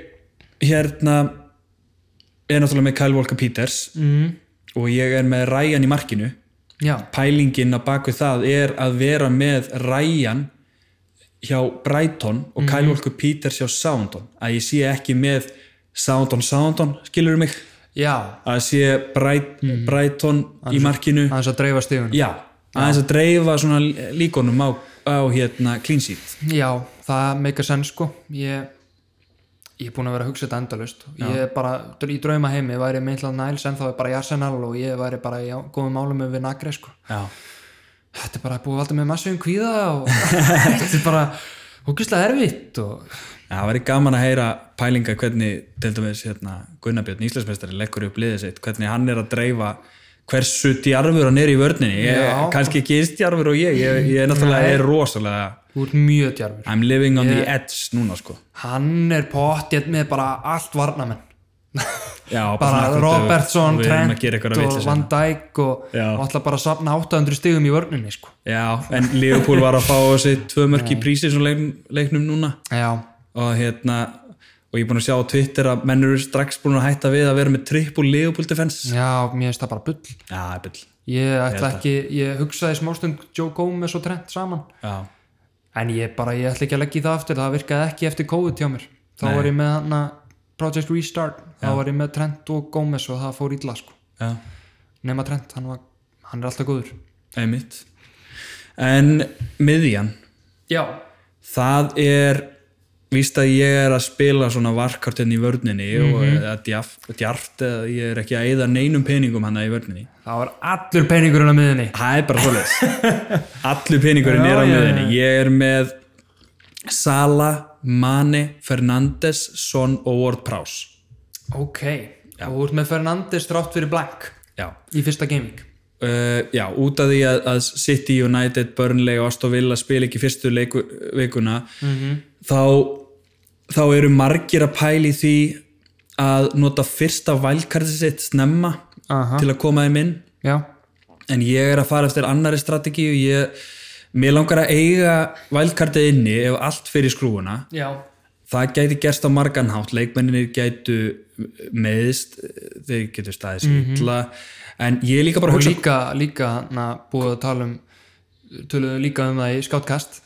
[SPEAKER 1] hérna er náttúrulega með Kyle Walker Peters
[SPEAKER 2] mm.
[SPEAKER 1] og ég er með Ryan í markinu
[SPEAKER 2] já,
[SPEAKER 1] pælingin að baku það er að vera með Ryan hjá Brighton og Kyle Walker Peters hjá Soundon að ég sé ekki með Soundon Soundon, skilur mig
[SPEAKER 2] já,
[SPEAKER 1] að sé Bright, Brighton í markinu
[SPEAKER 2] aðeins að dreifa stífunum
[SPEAKER 1] já, aðeins að dreifa svona lí- líkonum á, á hérna clean sheet
[SPEAKER 2] Já, það meika senn sko ég, ég er búin að vera að hugsa þetta endalust ég er bara, í drauma heimi væri meintlega næls en þá er bara í Arsenal og ég væri bara í á- góðum málum með vinagri sko
[SPEAKER 1] já,
[SPEAKER 2] þetta er bara búið að valda með massu um kvíða og þetta er bara húkislega erfitt og
[SPEAKER 1] það væri gaman að heyra pælinga hvernig, til dæmis hérna Gunnarbjörn Íslandsmeistari leggur upp liðið sitt hvernig hann er að dreifa hversu djarfur hann er í vörninni ég,
[SPEAKER 2] Já.
[SPEAKER 1] kannski ekki eins djarfur og ég ég, ég er náttúrulega er rosalega
[SPEAKER 2] þú ert mjög djarfur
[SPEAKER 1] I'm living on the edge núna sko
[SPEAKER 2] hann er pottjett með bara allt varnamenn
[SPEAKER 1] Já,
[SPEAKER 2] bara
[SPEAKER 1] svona akkurat ef-
[SPEAKER 2] Robertson,
[SPEAKER 1] við erum að gera
[SPEAKER 2] Trent
[SPEAKER 1] eitthvað
[SPEAKER 2] og
[SPEAKER 1] vitleysuna.
[SPEAKER 2] Van Dijk og,
[SPEAKER 1] Já.
[SPEAKER 2] og alltaf bara að safna 800 stigum í vörninni sko
[SPEAKER 1] Já, en Liverpool var að fá þessi tvö mörk í prísi sem leikn, leiknum núna
[SPEAKER 2] já,
[SPEAKER 1] og hérna og ég er búin að sjá á Twitter að menn eru strax búin að hætta við að vera með triple Liverpool defense
[SPEAKER 2] já, mér finnst það bara bull
[SPEAKER 1] Já, epill
[SPEAKER 2] ég ætla ekki, ég hugsaði smástund Joe Gomez og Trent saman
[SPEAKER 1] Já,
[SPEAKER 2] en ég bara, ég ætla ekki að leggja í það aftur það virkaði ekki eftir COVID hjá mér þá var ég með hann Project Restart þá var ég með Trent og Gómez og það fór illa sko,
[SPEAKER 1] já,
[SPEAKER 2] nema Trent hann, var, hann er alltaf góður
[SPEAKER 1] einmitt En miðjan
[SPEAKER 2] já,
[SPEAKER 1] það er víst að ég er að spila svona varkartinn í vörninni og
[SPEAKER 2] Mhm.
[SPEAKER 1] eða djarf, djarft eða ég er ekki að eyða neinum peningum hana í vörninni
[SPEAKER 2] það var allur peningurinn á miðinni
[SPEAKER 1] Það er bara svoleiðis Allur peningurinn er á
[SPEAKER 2] Já, já,
[SPEAKER 1] miðinni Ég er með Sala, Mane, Fernandes Son og Ward Prowse
[SPEAKER 2] ok, og þú ert með Fernandes þrátt fyrir Black
[SPEAKER 1] Já,
[SPEAKER 2] í fyrsta gaming
[SPEAKER 1] uh, já út af því að, að City, United, Burnley og Aston Villa spila ekki fyrstu leiku, vikuna þá, þá eru margir að pæli því að nota fyrsta valkartið sitt snemma
[SPEAKER 2] Aha.
[SPEAKER 1] til að koma þeim inn
[SPEAKER 2] já,
[SPEAKER 1] en ég er að fara eftir annari strategi og ég, mér langar að eiga valkartið inni ef allt fyrir skrúuna
[SPEAKER 2] já,
[SPEAKER 1] það gæti gerst á margan hátt leikmenninir gætu meðist þeir getur staðið sér illa en ég er líka bara að
[SPEAKER 2] og
[SPEAKER 1] hugsa
[SPEAKER 2] líka, líka hann að búið að tala um töluðu líka um það í skáttkast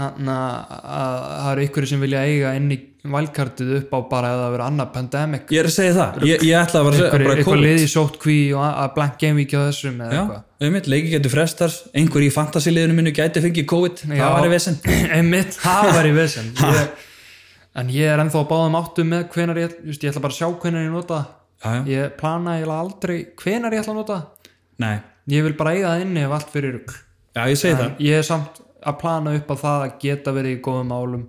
[SPEAKER 2] hann að að það eru ykkur sem vilja eiga inn í valkartið upp á bara eða að vera annað pandemic
[SPEAKER 1] ég er að segja það, ég, ég ætla að vera að segja
[SPEAKER 2] einhver,
[SPEAKER 1] bara
[SPEAKER 2] einhver
[SPEAKER 1] COVID.
[SPEAKER 2] liði sótt kví og að- að blank game week á þessum eða
[SPEAKER 1] Já, um einmitt, leiki getur frestar einhver í fantasiliðinu mínu gæti fengið COVID
[SPEAKER 2] Já.
[SPEAKER 1] það var í vesinn
[SPEAKER 2] eitthvað einmitt, það var í vesen Ég- en ég er ennþá að báðum áttum með hvenar ég, just, ég ætla bara að sjá hvenar ég nota það. ég plana eiginlega aldrei hvenar ég ætla að nota það.
[SPEAKER 1] Nei,
[SPEAKER 2] ég vil bara eiga það inni ef allt fyrir rugg
[SPEAKER 1] já ég segi það
[SPEAKER 2] ég er samt að plana upp á það að geta verið í góðum álum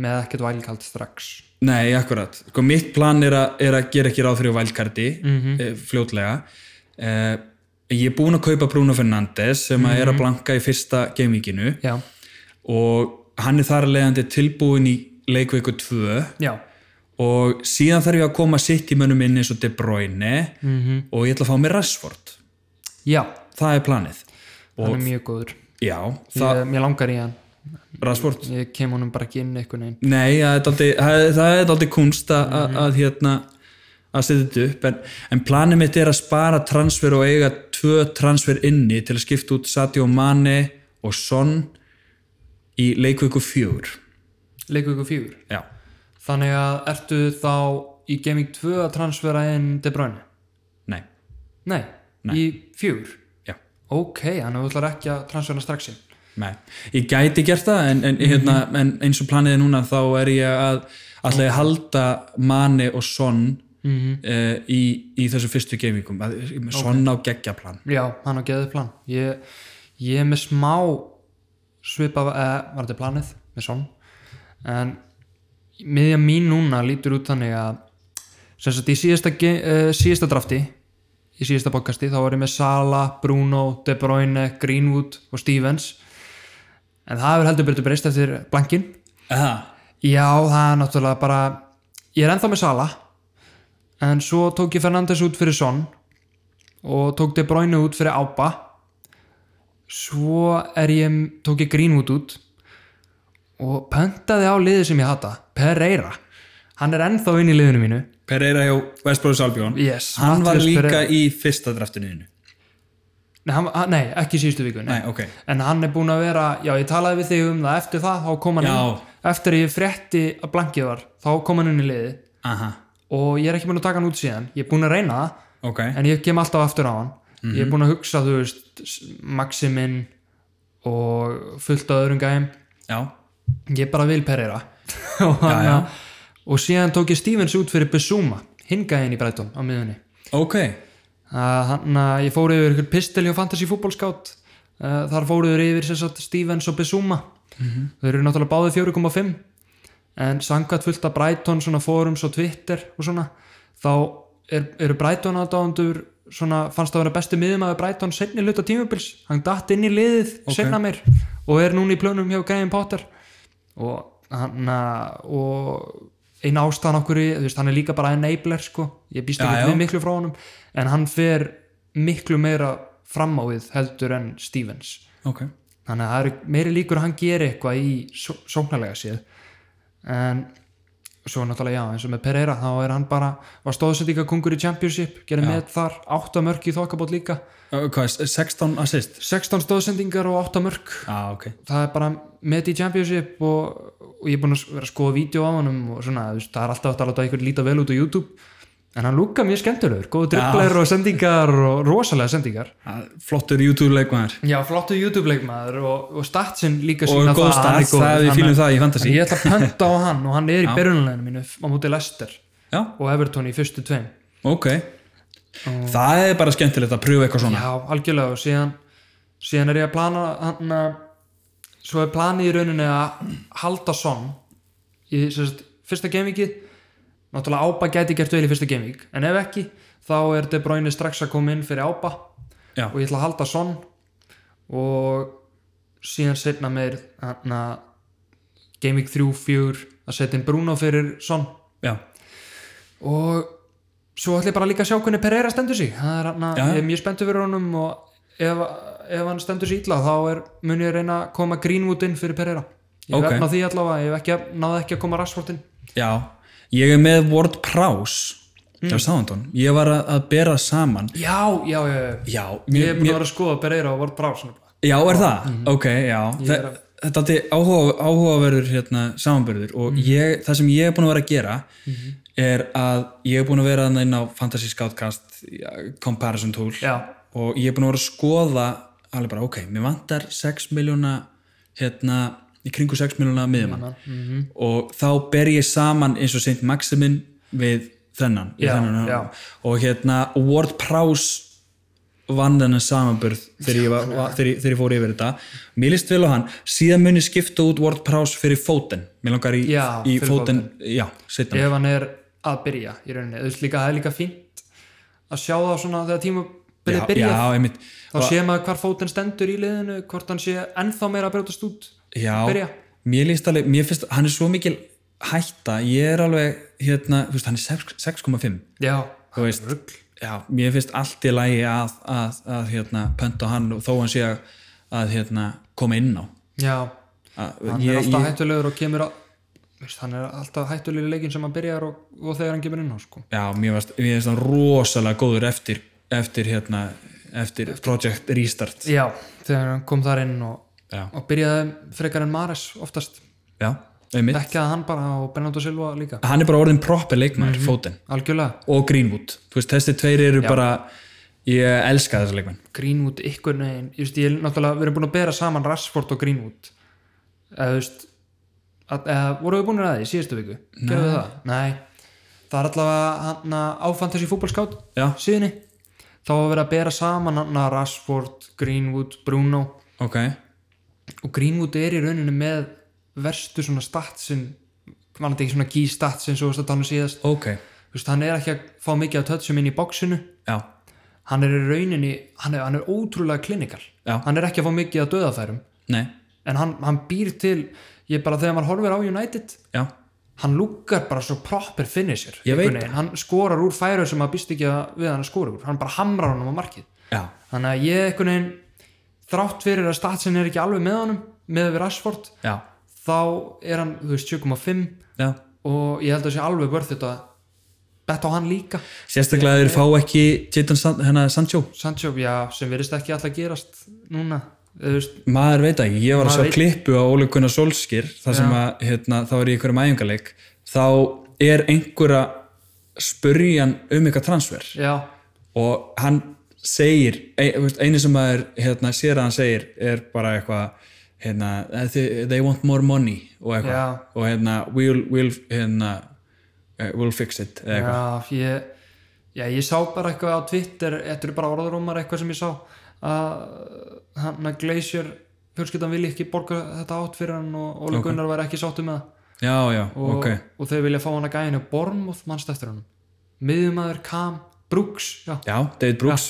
[SPEAKER 2] með ekkert vælkald strax
[SPEAKER 1] Nei, akkurat. Sko, mitt plan er, a, er að gera ekki ráð fyrir valkarti mm
[SPEAKER 2] Mhm.
[SPEAKER 1] fljótlega. Uh, ég er búinn að kaupa Bruno Fernandes sem að er að blanka í fyrsta gaminginu
[SPEAKER 2] Mhm. já,
[SPEAKER 1] og hann er þar að leiðandi tilbúin í leikveiku 2
[SPEAKER 2] já,
[SPEAKER 1] og síðan þarf ég að koma sitt í mönnum inn eins og De Bruyne
[SPEAKER 2] Mhm.
[SPEAKER 1] og ég ætla að fá mér Rashford.
[SPEAKER 2] já
[SPEAKER 1] Það er planið.
[SPEAKER 2] hann er mjög góður
[SPEAKER 1] Já, það,
[SPEAKER 2] ég, mér langar í hann,
[SPEAKER 1] Rashford.
[SPEAKER 2] ég kem honum bara ekki inn einhvern veginn
[SPEAKER 1] Nei, það er dálítið- það er- það er aldrei kunst að, að, að hérna að setja þetta upp en, en planið mitt er að spara transfer og eiga tvö transfer inni til að skipta út Sadio Mane og Son í leikvöku fjögur
[SPEAKER 2] leikur ykkur fjögur
[SPEAKER 1] Já,
[SPEAKER 2] þannig að ertu þá í Gaming 2 að transfera inn De Bruyne
[SPEAKER 1] nei,
[SPEAKER 2] nei, í fjögur
[SPEAKER 1] já,
[SPEAKER 2] ok, þannig að þú ætlar ekki að transfera strax inn
[SPEAKER 1] nei Ég gæti gert það en, en, hérna, en eins og planið er núna þá er ég að alltaf ég að halda Mane og Son mm í, í þessu fyrstu gamingum Að- Son á geggjaplan
[SPEAKER 2] já, hann á geðið plan ég, ég er með smá svipa, eh, var þetta planið með svon en miðja mín núna lítur út þannig að sem sagt í síðasta, ge- eh, síðasta drafti í síðasta bókasti þá var ég með Sala, Bruno, De Bruyne Greenwood og Stevens en það hefur heldur betur breyst eftir blankin
[SPEAKER 1] Aha.
[SPEAKER 2] Já, það er náttúrulega bara ég er ennþá með Sala en svo tók ég Fernandes út fyrir Son og tók De Bruyne út fyrir Ába svo er ég tók ég Greenwood út og pöntaði á liðið sem ég hata Pereira, hann er ennþá inn í liðinu mínu
[SPEAKER 1] Pereira hjá Vestbróðs Albjón
[SPEAKER 2] Yes,
[SPEAKER 1] hann var
[SPEAKER 2] Matthías
[SPEAKER 1] líka
[SPEAKER 2] Pereira.
[SPEAKER 1] í fyrsta draftinu
[SPEAKER 2] nei, hann, hann- nei ekki í síðustu viku nei.
[SPEAKER 1] Nei, ok
[SPEAKER 2] en hann er búin að vera, já ég talaði við þig um það eftir það, þá kom hann
[SPEAKER 1] Já.
[SPEAKER 2] inn eftir að ég frétti að blankið var, þá kom hann inn í liðið
[SPEAKER 1] Aha,
[SPEAKER 2] og ég er ekki búin að taka hann út síðan ég er búin að reyna það
[SPEAKER 1] ok
[SPEAKER 2] en ég kem alltaf aftur á hann ég er búin að hugsa þú veist s- Maximin og fullt af öðrum gæm
[SPEAKER 1] Já,
[SPEAKER 2] ég bara vil Pereira og, hann, og síðan tók ég Stevens út fyrir Besuma hingaðin í Breitón á miðunni
[SPEAKER 1] ok
[SPEAKER 2] þannig að ég fór yfir ykkur pistil hjá Fantasy Football Scout uh, þar fóruður yfir sem sagt Stevens og Besuma
[SPEAKER 1] Mhm.
[SPEAKER 2] þau eru náttúrulega báðið 4,5 en sangat fullt af Brighton svona forums og Twitter og svona þá er, eru Brighton aðdáðandur svona fannst það að vera besti miðum að Brighton setni hluta tímubils, hann datt inn í liðið okay. setna mér og er núna í plönum hjá Graham Potter og hann að- og eina ástæðan okkur, í, þú veist, hann er líka bara enabler sko, ég býst
[SPEAKER 1] Já, já.
[SPEAKER 2] ekki við miklu frá honum en hann fer miklu meira fram á við heldur en Stevens
[SPEAKER 1] Ok,
[SPEAKER 2] þannig að það eru meiri líkur að hann geri eitthvað í só sóknarlega séð en svo náttúrulega já eins og með Pereira þá er hann bara var stóðsendinga kungur í Championship gerði með þar, 8 mörg í þokkabót líka
[SPEAKER 1] uh, hvað, er- 16 assist
[SPEAKER 2] 16 stóðsendingar og 8 mörg
[SPEAKER 1] Já, ok
[SPEAKER 2] það er bara með í Championship og, og ég er búin að s- vera að skoða vídeo á honum og svona, þú veist, það er alltaf hægt að láta einhvern líta vel út á YouTube en hann lúka mjög skemmtilegur, góðu dribblar og sendingar og rosalega sendingar
[SPEAKER 1] Ah, Flottur YouTube-leikmaður
[SPEAKER 2] Já, flottu YouTube-leikmaður og, og statsin líka
[SPEAKER 1] Og
[SPEAKER 2] sína
[SPEAKER 1] góð
[SPEAKER 2] það að hann er
[SPEAKER 1] stats, það við
[SPEAKER 2] Þannig-
[SPEAKER 1] fýlum það í fantasy.
[SPEAKER 2] Ég ætla að pönta á hann og hann er í byrjunleginu mínu á móti Lester
[SPEAKER 1] Já,
[SPEAKER 2] og Everton í fyrstu tveim
[SPEAKER 1] ok Það er bara skemmtilegt að pröfa eitthvað svona
[SPEAKER 2] Já, algjörlega og síðan síðan er ég að plana hann að svo er planið í rauninni að halda son í sem sagt, fyrsta gamingið náttúrulega Ába gæti gert vel í fyrsta gaming en ef ekki, þá er De Bruyne strax að koma inn fyrir Ába
[SPEAKER 1] Já.
[SPEAKER 2] og ég ætla að halda son og síðan setna meir hann að gaming 3, 4 að setja inn Bruno fyrir son
[SPEAKER 1] Já,
[SPEAKER 2] og svo ætla ég bara líka að sjá hvernig Pereira stendur sig það er hann að
[SPEAKER 1] Já, já.
[SPEAKER 2] ég er mjög spenntur fyrir honum og ef, ef hann stendur sig illa þá er, mun ég reyna að koma Greenwood inn fyrir Pereira ég
[SPEAKER 1] Ok.
[SPEAKER 2] okay. vefna því allavega, ég hef ekki, náði ekki að koma Rashford inn
[SPEAKER 1] já Ég er með Ward Prowse mm.
[SPEAKER 2] Hmm.
[SPEAKER 1] Já, sáðan Ég var að, að bera saman
[SPEAKER 2] já, já, já, já.
[SPEAKER 1] Já,
[SPEAKER 2] ég
[SPEAKER 1] mér,
[SPEAKER 2] er búin að vera að skoða Pereira og Ward Prowse nefnilega.
[SPEAKER 1] Já, er það? Ok, já. Þa,
[SPEAKER 2] er að- Hmm.
[SPEAKER 1] þetta er áhuga, áhugaverður hérna, samanbörður og ég, það sem ég er búin að vera að gera er að ég er búin að vera þarna inn á Fantasy Scoutcast ja, Comparison Tool
[SPEAKER 2] já,
[SPEAKER 1] og ég er búin að vera að skoða alveg bara, ok, mér vantar 6 miljóna hérna, í kringu 6 miljóna miðjumann
[SPEAKER 2] mhm.
[SPEAKER 1] og þá ber ég saman eins og seint Maximin við þennan, við
[SPEAKER 2] Já,
[SPEAKER 1] þennan
[SPEAKER 2] já.
[SPEAKER 1] og hérna Ward Prowse vann þennan samanburð þegar ég, var, var, þegar, ég- þegar ég fór yfir þetta mér líst vel á hann, síðan mun ég skipta út Ward Prowse fyrir fóten mér langar í,
[SPEAKER 2] Já,
[SPEAKER 1] í
[SPEAKER 2] fyrir
[SPEAKER 1] fóten, já, setna
[SPEAKER 2] ef hann er að byrja í rauninni, þú veist líka það er líka fínt að sjá það svona þegar tíma byrja,
[SPEAKER 1] já,
[SPEAKER 2] byrja
[SPEAKER 1] einmitt
[SPEAKER 2] þá sé maður hvar fótinn stendur í liðinu hvort hann sé ennþá meira að brjótast út
[SPEAKER 1] Já,
[SPEAKER 2] byrja.
[SPEAKER 1] mér líst alveg, mér finnst, hann er svo mikil hætta, ég er alveg hérna, þú veist, hann er 6 6,5
[SPEAKER 2] já,
[SPEAKER 1] þú veist, já, mér finnst allt í lagi að, að, að hérna, pönta hann og þó hann sé að, að hérna, koma inn á
[SPEAKER 2] já
[SPEAKER 1] að,
[SPEAKER 2] hann er alltaf hættulegur og kemur að veist, hann er alltaf hættulegur í leikin sem hann byrjar og, og þegar hann kemur inn á sko.
[SPEAKER 1] Já, mér finnst, mér finnst hann rosalega góður eftir, eftir hérna, eftir Project Restart
[SPEAKER 2] já, þegar hann kom þar inn og,
[SPEAKER 1] Já,
[SPEAKER 2] og byrjaði frekar en Mares oftast,
[SPEAKER 1] já, einmitt
[SPEAKER 2] bekkaði hann bara og Bernardo Silva líka,
[SPEAKER 1] Hann er bara orðin proper leikmæður,
[SPEAKER 2] Mhm.
[SPEAKER 1] mm
[SPEAKER 2] algjörlega
[SPEAKER 1] og Greenwood, þú veist, þessi tveir eru bara ég elska þessi leikmæn
[SPEAKER 2] Greenwood ykkur negin ég veist, ég er náttúrulega, við erum búin að bera saman Rashford og Greenwood eða þú veist að, eða voru við búin að því í síðustu viku gerðu við það? Nei, það er allavega hann uh, að áfann þessi fútbolskátt
[SPEAKER 1] Já,
[SPEAKER 2] síðunni, þá var verið að bera saman hann að Rashford, Greenwood, Bruno
[SPEAKER 1] ok
[SPEAKER 2] og Greenwood er í rauninu með verstu svona statsin var þetta ekki svona key statsin svo að tala um síðast,
[SPEAKER 1] Ok,
[SPEAKER 2] þú veist, hann er ekki að fá mikið af tötsum inn í bóksinu
[SPEAKER 1] já,
[SPEAKER 2] hann er í rauninni, hann er, hann er ótrúlega klinikal,
[SPEAKER 1] Já.
[SPEAKER 2] hann er ekki að fá mikið að döðafærum,
[SPEAKER 1] nei,
[SPEAKER 2] en hann, hann býr til ég bara þegar maður horfir á United
[SPEAKER 1] já,
[SPEAKER 2] hann lúkar bara svo proper finisher
[SPEAKER 1] Ég veit
[SPEAKER 2] einhvern veginn. hann skorar úr færu sem maður býst ekki að- við að hann að skora úr, hann bara hamrar honum á markið
[SPEAKER 1] já,
[SPEAKER 2] þannig að ég einhvern veginn þrátt fyrir að statsin er ekki alveg með honum með við Rashford,
[SPEAKER 1] já,
[SPEAKER 2] þá er hann, þú veist, 7,5
[SPEAKER 1] já.
[SPEAKER 2] og ég held að sé alveg vörð þetta betta á hann líka
[SPEAKER 1] Sérstaklega þeir fá ekki Jadon San, hennar Sancho
[SPEAKER 2] Sancho, já, sem virðist ekki alltaf gerast núna, þú veist
[SPEAKER 1] Maður veit það ekki, ég var að
[SPEAKER 2] Maður
[SPEAKER 1] sjá
[SPEAKER 2] veit-
[SPEAKER 1] klippu á Óli Gunnar Solskir þar sem að, hérna, þá er í einhverjum æfingarleik þá er einhverja spurjan um eitthvað transfer
[SPEAKER 2] Já,
[SPEAKER 1] og hann segir ein- þú veist, einu sem maður hérna, sér að hann segir er bara eitthvað hérna, "They- they want more money og
[SPEAKER 2] Já.
[SPEAKER 1] eitthvað og hérna, we'll, we'll, hérna, eh, we'll fix it eða eitthvað
[SPEAKER 2] já, ég, já, ég sá bara eitthvað á Twitter, þetta eru bara orðurómar eitthvað sem ég sá að hann að Glacier fjölskyldan vilja ekki borga þetta átt fyrir hann og Óli Gunnar var ekki sáttu með það
[SPEAKER 1] já, já,
[SPEAKER 2] og,
[SPEAKER 1] ok
[SPEAKER 2] og þau vilja fá hann að gæðinu Bormóð mannst eftir hann miðumæður, Kam, Brooks já,
[SPEAKER 1] Já, David Brooks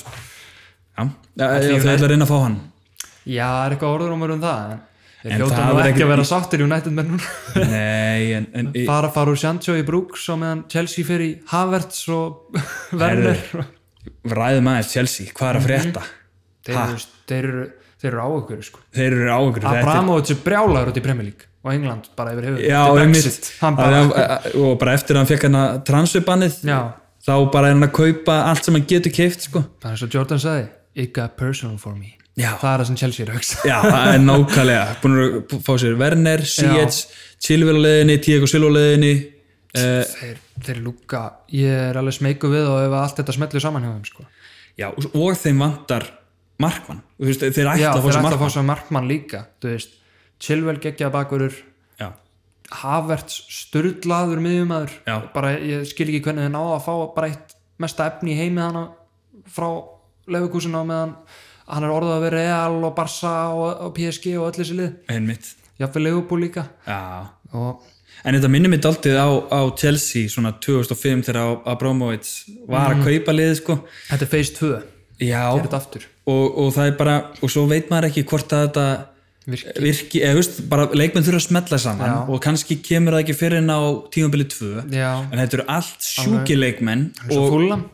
[SPEAKER 1] Já, já, já þau
[SPEAKER 2] Ætli United-
[SPEAKER 1] ætla að reyna að fá hann
[SPEAKER 2] já er eitthvað orðurómar um það en
[SPEAKER 1] En
[SPEAKER 2] ég hljóta
[SPEAKER 1] það er
[SPEAKER 2] nú ekki
[SPEAKER 1] ekki-
[SPEAKER 2] að vera sáttur í United menn núna
[SPEAKER 1] Nei, en, en í-
[SPEAKER 2] fara fara úr Sancho í Brooks og meðan Chelsea fer í Havertz og Werner Mhm. og
[SPEAKER 1] ræðum aðeins Chelsea, hvað er að frétta?
[SPEAKER 2] þeir,
[SPEAKER 1] Ha?
[SPEAKER 2] eru, þeir, eru, þeir eru á ykkur sko.
[SPEAKER 1] Þeir eru á ykkur þetta er-
[SPEAKER 2] Abramovits er brjálagur út í Premier League og England bara yfir höfuð
[SPEAKER 1] Já,
[SPEAKER 2] Þetta er
[SPEAKER 1] einmitt
[SPEAKER 2] hann
[SPEAKER 1] Það
[SPEAKER 2] bara,
[SPEAKER 1] er- að- e, Og bara eftir að hann fekk hann að transferbannið
[SPEAKER 2] já,
[SPEAKER 1] þá bara er hann að kaupa allt sem hann getur keift sko.
[SPEAKER 2] það er svo Jordan sagði it got personal for me
[SPEAKER 1] Já.
[SPEAKER 2] það er það sem Chelsea er að hugsa
[SPEAKER 1] Já, það er nákvæmlega Búin að fá sér Werner, Sietz Chilwell á leiðinni, Diego Silva á leiðinni uh,
[SPEAKER 2] þeir, þeir lúka, ég er alveg smeyku við og ef allt þetta smellir saman hjá þeim sko.
[SPEAKER 1] Já, og og þeim vantar markmann Þú veist, Þeir
[SPEAKER 2] já,
[SPEAKER 1] ætla að fá
[SPEAKER 2] þeir
[SPEAKER 1] sér
[SPEAKER 2] ætla að fá
[SPEAKER 1] markmann
[SPEAKER 2] svo markmann líka þú veist, Chilwell geggja bakverður
[SPEAKER 1] Já,
[SPEAKER 2] Havertz sturlaður miðjumæður
[SPEAKER 1] Já.
[SPEAKER 2] bara ég skil ekki hvernig þið náða að fá bara eitt mesta efni í heimi hana frá lefukúsina meðan hann er orðað að vera Real og Barca og, og PSG og öll þessi lið
[SPEAKER 1] einmitt
[SPEAKER 2] jafnvel Leopold líka
[SPEAKER 1] Já,
[SPEAKER 2] og
[SPEAKER 1] En þetta minnir mér daldið á, á Chelsea svona 2005 þegar Abramovits var
[SPEAKER 2] Mhm.
[SPEAKER 1] að kaupa liðið sko.
[SPEAKER 2] þetta er phase 2
[SPEAKER 1] Já, og,
[SPEAKER 2] þetta aftur
[SPEAKER 1] og það er bara, og svo veit maður ekki hvort að þetta
[SPEAKER 2] Virki.
[SPEAKER 1] virki, eða veist, bara leikmenn þurfa að smetla saman
[SPEAKER 2] Já.
[SPEAKER 1] og kannski kemur það ekki fyrir en á tímabili 2
[SPEAKER 2] Já.
[SPEAKER 1] en þetta eru allt sjúki leikmenn
[SPEAKER 2] svo
[SPEAKER 1] og,
[SPEAKER 2] fúlam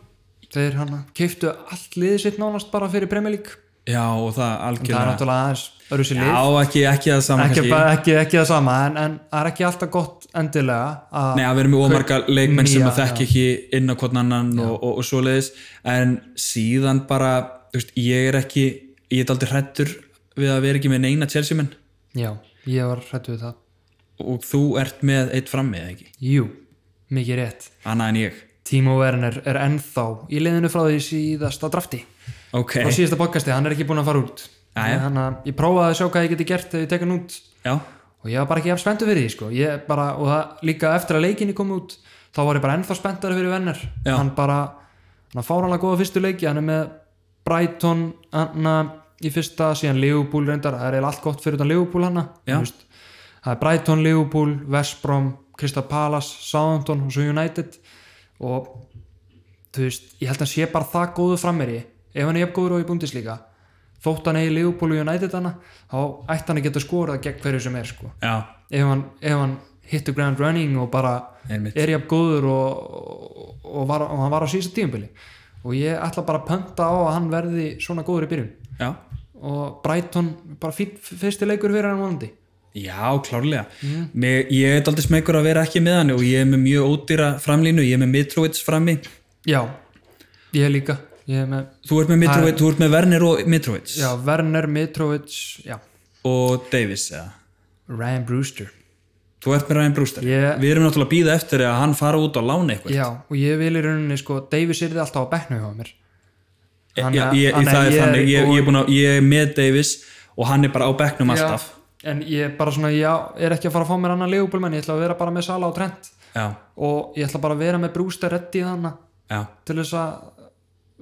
[SPEAKER 2] þeir hann keiftu allt liðið sitt nánast bara fyrir Premier League
[SPEAKER 1] já, og það
[SPEAKER 2] það er
[SPEAKER 1] algjörlega
[SPEAKER 2] náttúrulega aðeins öru sér lið
[SPEAKER 1] Já, ekki, ekki það saman
[SPEAKER 2] ekki,
[SPEAKER 1] kannski
[SPEAKER 2] bara- ekki, ekki það sama en, en það er ekki alltaf gott endilega að
[SPEAKER 1] Nei, að vera með ómarga leikmenn sem
[SPEAKER 2] Nýja,
[SPEAKER 1] að þekki ekki inn á hvern annan og, og, og svoleiðis en síðan bara, þú veist, ég er ekki ég er aldrei hrættur við að vera ekki með neina Chelsea menn
[SPEAKER 2] já, ég var hrættu við það
[SPEAKER 1] og þú ert með eitt frammi eða ekki,
[SPEAKER 2] Jú, mikið rétt.
[SPEAKER 1] annað en ég
[SPEAKER 2] Timo Werner er ennþá í liðinu frá því síðasta drafti.
[SPEAKER 1] ok,
[SPEAKER 2] Frá síðasta bókasti, hann er ekki búinn að fara út.
[SPEAKER 1] Jæja.
[SPEAKER 2] Þannig að ég prófaði að sjá hvað ég geti gert ef ég tek hann út
[SPEAKER 1] já,
[SPEAKER 2] og ég var bara ekki ef spenntu fyrir því sko. Ég bara, og það, líka eftir að leikinni kom út, þá var ég bara ennþá spenntari fyrir Werner.
[SPEAKER 1] Já.
[SPEAKER 2] Hann bara, hann fár alveg góða fyrstu leiki, hann er með Brighton hana, í fyrsta, síðan Liverpool reyndar, það er eiginlega allt gott fyrir utan Liverpool hana
[SPEAKER 1] Já.
[SPEAKER 2] Þú veist, það er Brighton, Liverpool, West Brom Crystal Palace, Southampton og svo United og þú veist, ég held að hann sé bara það góðu frammeri ef hann er jafn góður og í Bundesliga þótt hann eigi Liverpool og United hana þá ætti hann að geta skorað gegn hverju sem er sko.
[SPEAKER 1] já,
[SPEAKER 2] ef hann, ef hann hittu ground running og bara
[SPEAKER 1] einmitt
[SPEAKER 2] er jafn góður og, og, var, og hann var á síðasta tíumbili og ég ætla bara að pönta á að hann verði svona góður í byrjun
[SPEAKER 1] já,
[SPEAKER 2] og Brighton bara fýtt fyrsti leikur fyrir hann vonandi
[SPEAKER 1] já klárlega
[SPEAKER 2] Mm.
[SPEAKER 1] Mér, ég er aldrei smekur að vera ekki með hann og ég er með mjög ódýra framlínu ég er með Mitrovic frammi
[SPEAKER 2] já, ég líka ég er með,
[SPEAKER 1] þú ert með, Mitrovic, þú ert með Werner og Mitrovic
[SPEAKER 2] já, Werner, Mitrovic já,
[SPEAKER 1] og Davis eða
[SPEAKER 2] Ryan Brewster
[SPEAKER 1] Þú ert með Ryan Brewster.
[SPEAKER 2] Ég-
[SPEAKER 1] Við erum náttúrulega að býða eftir að hann fara út á lána eitthvað.
[SPEAKER 2] já, og ég vil í rauninni sko, Davis er þið alltaf á bekknu hjá mér
[SPEAKER 1] Eh, Já,
[SPEAKER 2] Hann-
[SPEAKER 1] ég,
[SPEAKER 2] hann-
[SPEAKER 1] það er
[SPEAKER 2] ég er
[SPEAKER 1] þannig. Ég, ég,
[SPEAKER 2] góður-
[SPEAKER 1] er búinn að, ég er með Davis og hann er bara á bekknum alltaf.
[SPEAKER 2] já, en ég er bara svona, já, er ekki að fara að fá mér annan legubólmenn, ég ætla að vera bara með Sala og Trent
[SPEAKER 1] Já,
[SPEAKER 2] og ég ætla bara að vera með Brewster reddi þannig
[SPEAKER 1] já,
[SPEAKER 2] til þess að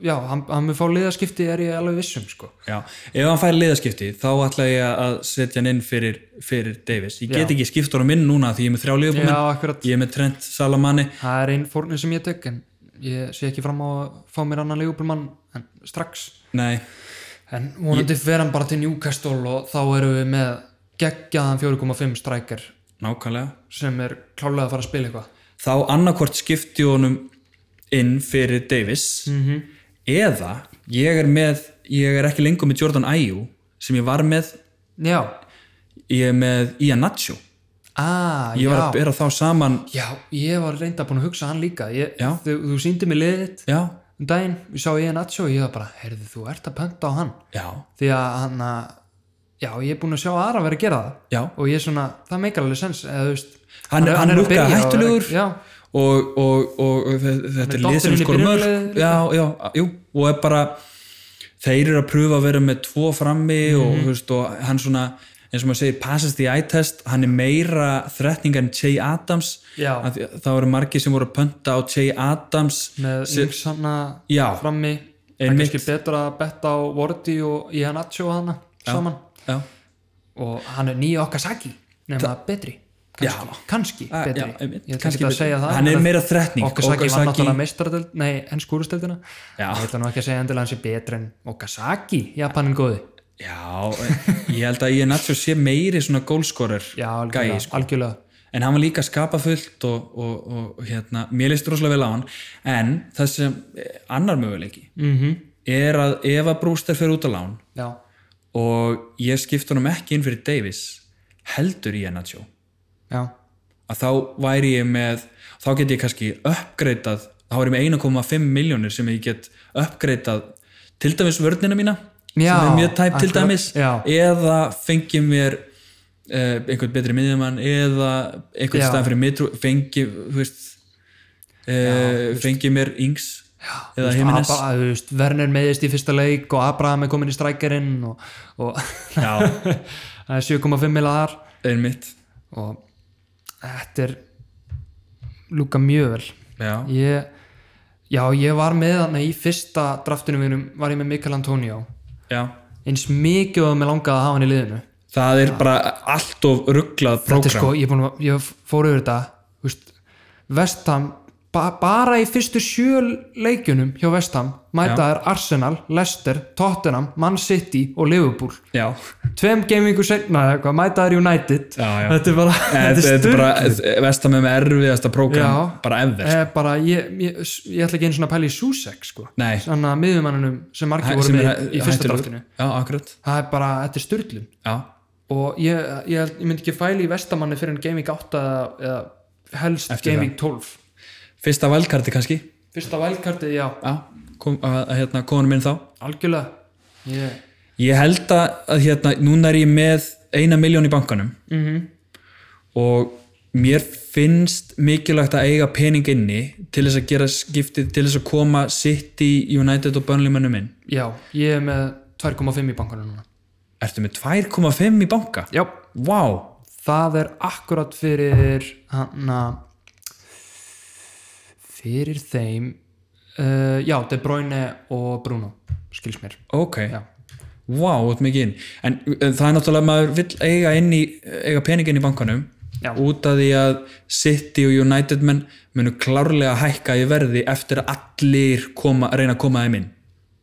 [SPEAKER 2] já, hann, hann mun fá liðaskipti er ég alveg vissum sko.
[SPEAKER 1] já. Ef hann fær liðaskipti þá ætla ég að setja hann inn fyrir, fyrir Davis. Ég get ekki skipt honum inn núna því ég er með þrjá
[SPEAKER 2] já,
[SPEAKER 1] liðbúminn.
[SPEAKER 2] akkurat,
[SPEAKER 1] Ég er með Trent Salamani.
[SPEAKER 2] það er einn fórnir sem ég tök en ég sé ekki fram á að fá mér annan leigubilmann en strax
[SPEAKER 1] Nei,
[SPEAKER 2] en vonandi fer hann bara til Newcastle og þá erum við með geggjaðan 4.5 strækjar
[SPEAKER 1] nákvæmlega.
[SPEAKER 2] sem er klálega að fara að spila eitthvað
[SPEAKER 1] Þá annarkvort skipti honum inn fyrir Davis
[SPEAKER 2] Mhm.
[SPEAKER 1] -hmm. eða ég er með, ég er ekki lengur með Jordan Ayew sem ég var með
[SPEAKER 2] já,
[SPEAKER 1] ég er með Ian Nacho
[SPEAKER 2] ah,
[SPEAKER 1] ég var að
[SPEAKER 2] já
[SPEAKER 1] bera þá saman
[SPEAKER 2] já, ég var reynda búin að hugsa hann líka ég,
[SPEAKER 1] Já.
[SPEAKER 2] þú, þú síndi mig liðið þitt
[SPEAKER 1] já,
[SPEAKER 2] um daginn, ég sá ég hann aðsjó og ég var bara, heyrðu þú ert að pönta á hann
[SPEAKER 1] já,
[SPEAKER 2] því að hann að já, ég er búinn að sjá aðra vera að gera það
[SPEAKER 1] já
[SPEAKER 2] og ég er svona, það meikar alveg sens eða, þú veist,
[SPEAKER 1] hann, hann, hann
[SPEAKER 2] að
[SPEAKER 1] lukka
[SPEAKER 2] byrja og
[SPEAKER 1] hættulegur
[SPEAKER 2] er- já,
[SPEAKER 1] og, og, og, og þe- þetta er lið sem
[SPEAKER 2] dotterinn í
[SPEAKER 1] skor mörg
[SPEAKER 2] byrjunarliðið.
[SPEAKER 1] já, já, jú, og er bara þeir eru að pröfa að vera með tvo frammi
[SPEAKER 2] Mhm.
[SPEAKER 1] og, þú veist, og hann svona eins og maður segir, passast í i-test hann er meira þretning en Jay Adams
[SPEAKER 2] Já.
[SPEAKER 1] Að því- það voru margir sem voru að pönta á Jay Adams
[SPEAKER 2] með
[SPEAKER 1] sem,
[SPEAKER 2] Ings hann að
[SPEAKER 1] já,
[SPEAKER 2] frammi það er
[SPEAKER 1] Einmitt.
[SPEAKER 2] kannski betra að betta á Vorti og Ian Atsjó hana saman
[SPEAKER 1] já,
[SPEAKER 2] og hann er nýja Okasaki nema betri, kannski, kannski
[SPEAKER 1] Ah,
[SPEAKER 2] betri,
[SPEAKER 1] já, einmitt,
[SPEAKER 2] ég ætla
[SPEAKER 1] kannski
[SPEAKER 2] ekki að
[SPEAKER 1] betri.
[SPEAKER 2] segja það
[SPEAKER 1] Hann er
[SPEAKER 2] en
[SPEAKER 1] meira þretning.
[SPEAKER 2] Okasaki var
[SPEAKER 1] Okasaki-
[SPEAKER 2] náttúrulega meistardeld, nei, enn skúrusteldina
[SPEAKER 1] Já.
[SPEAKER 2] ég ætla nú ekki að segja endilega hann sé betri en Okasaki, Japanin góði
[SPEAKER 1] já ég held að ég náttúrulega sé meiri svona gólskorer
[SPEAKER 2] já,
[SPEAKER 1] gæi
[SPEAKER 2] algjörlega,
[SPEAKER 1] sko.
[SPEAKER 2] algjörlega.
[SPEAKER 1] en hann var líka skapafullt og, og, og, hérna, mér leist rosalega vel á hann en það sem eh, annar möguleiki -hmm. er að ef að Brewster fer út á lán
[SPEAKER 2] já
[SPEAKER 1] og ég skipta honum ekki inn fyrir Davis heldur í Ennacho
[SPEAKER 2] Já,
[SPEAKER 1] að þá væri ég með þá get ég kannski uppgreitað þá er ég með 1,5 miljónir sem ég get uppgreitað til dæmis vörnina mína
[SPEAKER 2] Já,
[SPEAKER 1] sem er mjög tæp til
[SPEAKER 2] akkurat,
[SPEAKER 1] dæmis
[SPEAKER 2] já.
[SPEAKER 1] eða fengi mér uh, einhvern betri miðjumann eða einhvern
[SPEAKER 2] Já.
[SPEAKER 1] stað fyrir mitru fengi, þú veist uh, fengi mér yngs eða heimines
[SPEAKER 2] Abba, þú veist, Werner meðist í fyrsta leik og Abraham er komin í strækjarinn og, og
[SPEAKER 1] já,
[SPEAKER 2] það er 7,5 milaðar
[SPEAKER 1] einmitt
[SPEAKER 2] og þetta er lúka mjög vel
[SPEAKER 1] já,
[SPEAKER 2] ég, Já, ég var með hann í fyrsta draftinu mínum var ég með Mikael Antonio
[SPEAKER 1] já
[SPEAKER 2] eins mikið og með langaði að hafa hann í liðinu
[SPEAKER 1] það er bara allt of rugglað
[SPEAKER 2] Þetta
[SPEAKER 1] prógram
[SPEAKER 2] er sko, ég, er búinn að- ég fór yfir þetta þú veist, Vestham ba bara í fyrstu sjö leikjunum hjá Vestham mæta er Arsenal, Leicester, Tottenham Man City og Liverpool
[SPEAKER 1] já,
[SPEAKER 2] tveim gamingu setna eða eitthvað, mæta er United
[SPEAKER 1] Já, já.
[SPEAKER 2] þetta er bara,
[SPEAKER 1] þetta,
[SPEAKER 2] þetta er
[SPEAKER 1] þetta er
[SPEAKER 2] sturg
[SPEAKER 1] bara vestam með erfiðasta prógram
[SPEAKER 2] Já.
[SPEAKER 1] bara ever
[SPEAKER 2] Eh, bara, ég, ég, ég ætla ekki einu svona að pæla í Susek sko.
[SPEAKER 1] Nei.
[SPEAKER 2] þannig að miðumannunum sem margir voru
[SPEAKER 1] sem
[SPEAKER 2] með
[SPEAKER 1] er hæ-
[SPEAKER 2] í fyrsta
[SPEAKER 1] hættulegur.
[SPEAKER 2] draftinu
[SPEAKER 1] já, akkurat
[SPEAKER 2] það er bara, þetta er styrlun
[SPEAKER 1] já,
[SPEAKER 2] og ég, ég, held- ég myndi ekki fæli í vestamanni fyrir en Gaming 8 eða, eða helst
[SPEAKER 1] Eftir
[SPEAKER 2] Gaming 12
[SPEAKER 1] fyrsta valkarti kannski
[SPEAKER 2] fyrsta vælkartið, já,
[SPEAKER 1] já, kom, að, að, hérna, konum minn þá
[SPEAKER 2] algjörlega ég,
[SPEAKER 1] ég held að, að hérna, núna er ég með eina miljón í bankanum
[SPEAKER 2] Mhm.
[SPEAKER 1] og mér finnst mikilvægt að eiga pening inni til þess að gera skiptið til þess að koma City, United og Burnley mönnum inn
[SPEAKER 2] já, ég er með 2,5 í bankanum núna
[SPEAKER 1] ertu með 2,5 í banka?
[SPEAKER 2] já,
[SPEAKER 1] wow,
[SPEAKER 2] það er akkurat fyrir hana fyrir þeim uh, já, De Bruyne og Bruno skils mér
[SPEAKER 1] ok,
[SPEAKER 2] já.
[SPEAKER 1] vá, wow, út mikið inn en, en það er náttúrulega maður vill eiga, inn í, eiga peningin í bankanum
[SPEAKER 2] Já.
[SPEAKER 1] út af því að City og United menn munu klárlega hækka í verði eftir að allir koma, reyna að koma þeim inn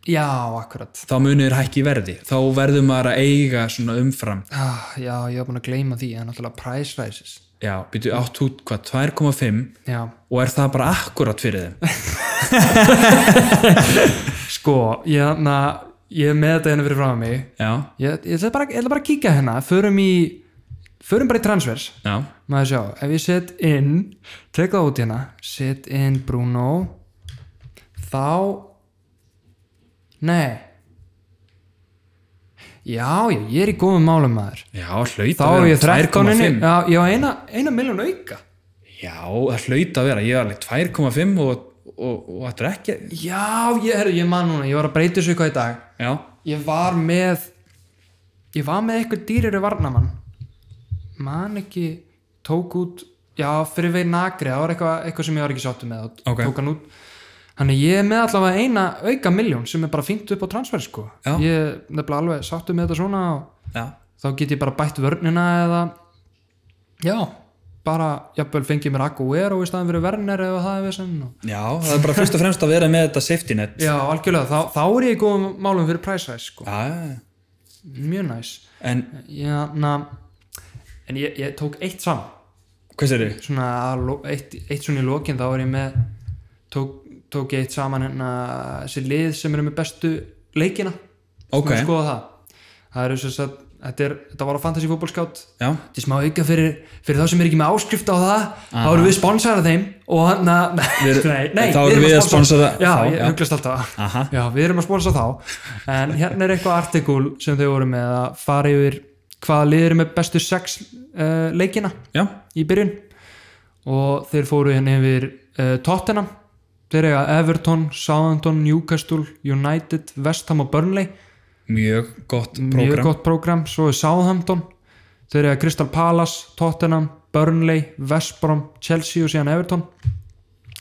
[SPEAKER 2] já, akkurat
[SPEAKER 1] þá munir hækki í verði þá verður maður að eiga svona umfram
[SPEAKER 2] ah, já, ég var búin að gleyma því en náttúrulega price rises
[SPEAKER 1] já, byrju átt út hvað, 2,5
[SPEAKER 2] já,
[SPEAKER 1] og er það bara akkurat fyrir þeim
[SPEAKER 2] sko, ég, na, ég er með þetta hérna fyrir frá mig ég,
[SPEAKER 1] já,
[SPEAKER 2] ég ætla bara, ég ætla bara að kíka hérna förum í, förum bara í transfers
[SPEAKER 1] já,
[SPEAKER 2] maður sjá, ef ég set inn tek það út hérna, set inn Bruno þá nei já, já, ég er í góðum málum maður
[SPEAKER 1] já, hlaut
[SPEAKER 2] þá
[SPEAKER 1] að
[SPEAKER 2] er
[SPEAKER 1] vera
[SPEAKER 2] ég 13
[SPEAKER 1] 2,5
[SPEAKER 2] já, já, eina, eina miljón auka
[SPEAKER 1] já, það hlaut að vera ég er alveg 2,5 og, og, og þetta er ekki
[SPEAKER 2] já, ég, herru, ég man núna, ég var að breyta þessu eitthvað í dag
[SPEAKER 1] já,
[SPEAKER 2] ég var með ég var með eitthvað dýrari varnamann man ekki tók út, já fyrir veginn agri það var eitthvað, eitthvað sem ég var ekki sáttu með og
[SPEAKER 1] Ok.
[SPEAKER 2] tók hann út þannig ég er með allavega eina auka miljón sem er bara fínt upp á transfer sko
[SPEAKER 1] Já.
[SPEAKER 2] ég er nefnilega alveg sáttu með þetta svona og
[SPEAKER 1] já,
[SPEAKER 2] þá get ég bara bætt vörnina eða já, bara jafnvel fengið mér Aguero í staðan fyrir Werner eða það er vesen og...
[SPEAKER 1] já það er bara fyrst og fremst að vera með þetta safety net
[SPEAKER 2] já, algjörlega, þá, þá er ég í góðum málum fyrir price rise sko,
[SPEAKER 1] já, já.
[SPEAKER 2] mjög næs
[SPEAKER 1] en
[SPEAKER 2] Já, na, en ég, ég tók eitt saman
[SPEAKER 1] hvað sér þið?
[SPEAKER 2] svona, að lo- eitt, eitt svona í lokin þá var ég með tók, tók ég eitt saman hérna þessi lið sem eru með bestu leikina
[SPEAKER 1] Ok.
[SPEAKER 2] Skulum skoða það það eru svo að þetta, er, þetta var á Fantasy Football Scout
[SPEAKER 1] já,
[SPEAKER 2] þetta er smá auka fyrir, fyrir þá sem er ekki með áskrift á það þá erum við sponsorað þeim og hann að
[SPEAKER 1] Við-
[SPEAKER 2] nei, nei,
[SPEAKER 1] þá erum við að sponsora
[SPEAKER 2] já,
[SPEAKER 1] þá,
[SPEAKER 2] ég
[SPEAKER 1] já.
[SPEAKER 2] huglast alltaf
[SPEAKER 1] Aha.
[SPEAKER 2] já, við erum að sponsora þá en hérna er eitthvað artikul sem þau voru með að fara yfir hvaða lið eru með bestu sex uh, leikina
[SPEAKER 1] já,
[SPEAKER 2] í byrjun og þeir fóru hérna yfir uh, Tottenham þeir eiga Everton, Southampton, Newcastle United, West Ham og Burnley
[SPEAKER 1] mjög gott
[SPEAKER 2] mjög
[SPEAKER 1] program
[SPEAKER 2] gott prógram, svo er Southampton þeir eru að Crystal Palace, Tottenham Burnley, West Brom, Chelsea og síðan Everton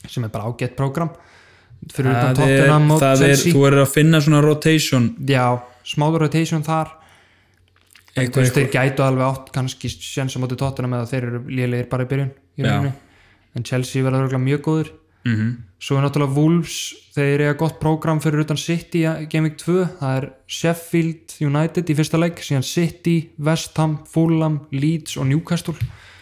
[SPEAKER 2] sem er bara ágætt prógram fyrir utan
[SPEAKER 1] það er,
[SPEAKER 2] Tottenham og
[SPEAKER 1] það er,
[SPEAKER 2] Chelsea
[SPEAKER 1] þú er að finna svona rotation
[SPEAKER 2] já, smá rotation þar en þú
[SPEAKER 1] eitthvað,
[SPEAKER 2] veist
[SPEAKER 1] eitthvað.
[SPEAKER 2] þeir gætu alveg átt kannski sjens á móti Tottenham eða þeir eru lélegir bara í byrjun
[SPEAKER 1] Já.
[SPEAKER 2] í rauninni. en Chelsea verður örugglega mjög góður
[SPEAKER 1] Mm
[SPEAKER 2] Svo er náttúrulega Wolves, þeir eiga gott prógram fyrir utan City í Gaming 2, það er Sheffield United í fyrsta leik, síðan City, West Ham, Fulham, Leeds og Newcastle.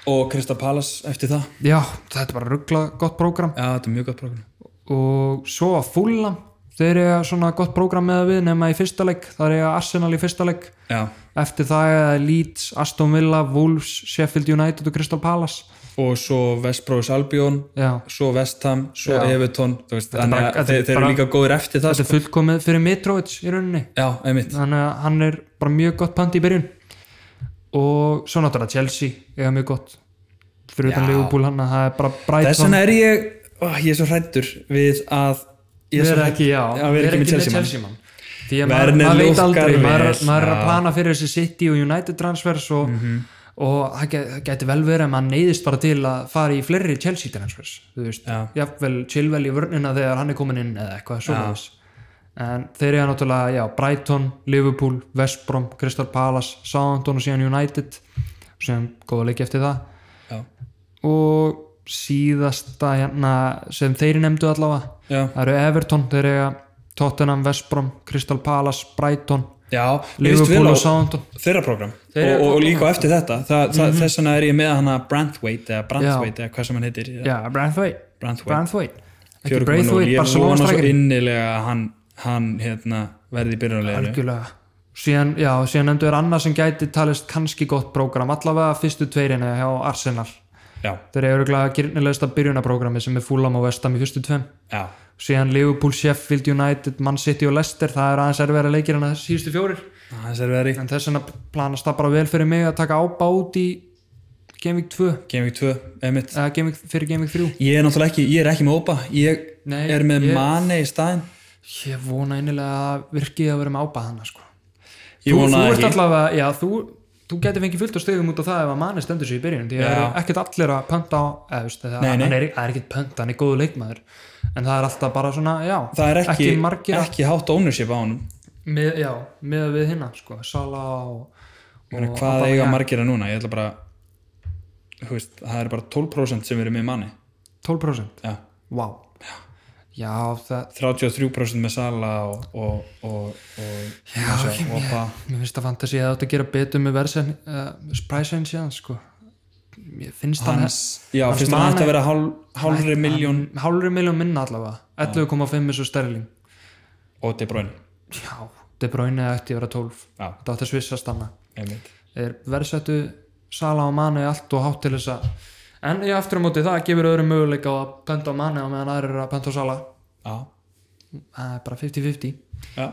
[SPEAKER 1] og Krista Palas eftir það
[SPEAKER 2] Já, þetta er bara ruggla gott prógram.
[SPEAKER 1] já, þetta er mjög gott program
[SPEAKER 2] Og svo að Fulham, þeir eiga svona gott prógram með að við nema í fyrsta leik, það eiga Arsenal í fyrsta leik,
[SPEAKER 1] já,
[SPEAKER 2] eftir það eiga Leeds, Aston Villa, Wolves, Sheffield United og Crystal Palace.
[SPEAKER 1] og svo Vestbróðis Albion
[SPEAKER 2] Já,
[SPEAKER 1] svo Vestham, svo
[SPEAKER 2] Já.
[SPEAKER 1] Everton þú veist,
[SPEAKER 2] er
[SPEAKER 1] þannig
[SPEAKER 2] bara-
[SPEAKER 1] að
[SPEAKER 2] þetta er
[SPEAKER 1] þeir, þeir eru
[SPEAKER 2] bara-
[SPEAKER 1] líka góðir eftir það
[SPEAKER 2] þetta
[SPEAKER 1] sko.
[SPEAKER 2] er fullkomið fyrir Mitrovic í rauninni.
[SPEAKER 1] já, einmitt
[SPEAKER 2] þannig að hann er bara mjög gott pant í byrjun og svo náttúrulega Chelsea eiga mjög gott fyrir utan
[SPEAKER 1] Já.
[SPEAKER 2] Liverpool hann að það er bara
[SPEAKER 1] þess
[SPEAKER 2] Brighton
[SPEAKER 1] vegna er ég, ó, ég er svo hrættur við að ég
[SPEAKER 2] við
[SPEAKER 1] svo
[SPEAKER 2] erum
[SPEAKER 1] hræddur-
[SPEAKER 2] ekki, já,
[SPEAKER 1] já, við erum ekki með Chelsea mann.
[SPEAKER 2] mann því að maður,
[SPEAKER 1] Werner
[SPEAKER 2] maður veit
[SPEAKER 1] lúkkar
[SPEAKER 2] aldrei
[SPEAKER 1] vel,
[SPEAKER 2] maður, maður er
[SPEAKER 1] já. Mhm.
[SPEAKER 2] að plana fyrir þessi City og United transfers og, og það gæ- það gæti vel verið að maður neyðist bara til að fara í fleiri Chelsea transfers þú veist,
[SPEAKER 1] Já.
[SPEAKER 2] jafnvel Chilwell í vörnina þegar hann er komin inn eða eitthvað svoleiðis en þeir eru náttúrulega, já, Brighton Liverpool, West Brom, Crystal Palace Southampton og síðan United og síðan góða leiki eftir það
[SPEAKER 1] Já.
[SPEAKER 2] og síðasta hérna, sem þeir nefndu allavega
[SPEAKER 1] já,
[SPEAKER 2] Það eru Everton, þeir eiga Tottenham, Vestbrom, Crystal Palace, Brighton
[SPEAKER 1] já, mér líst vel á
[SPEAKER 2] Liverpool og Southampton
[SPEAKER 1] þeirra program
[SPEAKER 2] Þeirra
[SPEAKER 1] og, og
[SPEAKER 2] program, Mhm.
[SPEAKER 1] líka eftir þetta Þa, mm þess vegna er ég með hana Branthwaite eða Branthwaite eða hvað sem hann heitir
[SPEAKER 2] Já, Branthwaite
[SPEAKER 1] Branthwaite,
[SPEAKER 2] Branthwaite Ekki
[SPEAKER 1] 4,0.
[SPEAKER 2] Braithwaite,
[SPEAKER 1] ég
[SPEAKER 2] Barcelona
[SPEAKER 1] vona svo
[SPEAKER 2] strækir
[SPEAKER 1] innilega að hann, hann hérna, verði í byrjunarleginu
[SPEAKER 2] Algjörlega Síðan, já, síðan endur annað sem gæti talist kannski gott prógram allavega fyrstu tveirinu hjá Arsenal
[SPEAKER 1] já,
[SPEAKER 2] Þeir eru örgulega gyrnilegsta byrjunaprógrami sem er Fulham og Vestam í fyrstu tveim
[SPEAKER 1] já,
[SPEAKER 2] Síðan Liverpool, Sheffield United, Man City og Leicester það er aðeins erfiðara leikir en þessi síðustu fjórir
[SPEAKER 1] hans er verið
[SPEAKER 2] en þess vegna planast það bara vel fyrir mig að taka ábá út í Game Week 2
[SPEAKER 1] Game Week 2, emitt
[SPEAKER 2] eða Game Week, fyrir Game Week 3
[SPEAKER 1] ég er náttúrulega ekki, ég er ekki með ópa ég
[SPEAKER 2] Nei,
[SPEAKER 1] er með
[SPEAKER 2] ég-
[SPEAKER 1] Mane í staðin
[SPEAKER 2] ég vona einilega að virki að vera með ábæð hana sko.
[SPEAKER 1] ég
[SPEAKER 2] þú,
[SPEAKER 1] vona
[SPEAKER 2] þú
[SPEAKER 1] það
[SPEAKER 2] ert
[SPEAKER 1] ekki
[SPEAKER 2] allavega já, þú, þú getur fengið fullt á stöðum út á það ef að manni stendur sér í byrjun því það
[SPEAKER 1] Já.
[SPEAKER 2] er ekkert allir að pönta á eða, veist, það,
[SPEAKER 1] Nei, nei.
[SPEAKER 2] Hann, er, það er ekkert pönta, hann er góðu leikmaður en það er alltaf bara svona, já
[SPEAKER 1] það er ekki, ekki,
[SPEAKER 2] margir
[SPEAKER 1] hátt ownership á honum
[SPEAKER 2] með, já, með við hinna, sko, Sala og,
[SPEAKER 1] Ég meina,
[SPEAKER 2] og
[SPEAKER 1] hvað
[SPEAKER 2] Aubameyang.
[SPEAKER 1] eiga margir að núna ég ætla bara þú veist, það er bara 12% sem eru með manni
[SPEAKER 2] 12%
[SPEAKER 1] já.
[SPEAKER 2] Vá wow. Já, það
[SPEAKER 1] 33% með Sala og og, og, og,
[SPEAKER 2] Já,
[SPEAKER 1] og,
[SPEAKER 2] ok,
[SPEAKER 1] og, og
[SPEAKER 2] Mér finnst að fantasi að það átt að gera betur með versen, uh, price range síðan sko. Mér finnst hann
[SPEAKER 1] hans, já,
[SPEAKER 2] hans
[SPEAKER 1] finnst hann
[SPEAKER 2] Mane-
[SPEAKER 1] ætti að vera hál, hálfri miljón
[SPEAKER 2] hann- Hálfri miljón minna allavega 11,5 eins og sterling
[SPEAKER 1] og De Bruyne
[SPEAKER 2] Já, De Bruyne ætti að vera 12
[SPEAKER 1] já,
[SPEAKER 2] Þetta átti að svissast hann
[SPEAKER 1] einmitt
[SPEAKER 2] Er verðsettu Sala og Mane allt og hátt til þess að En ég aftur á móti það gefur öðrum möguleika á að pönta á Mane og meðan aðrir eru að pönta á Sala
[SPEAKER 1] já,
[SPEAKER 2] Það er bara 50-50
[SPEAKER 1] já.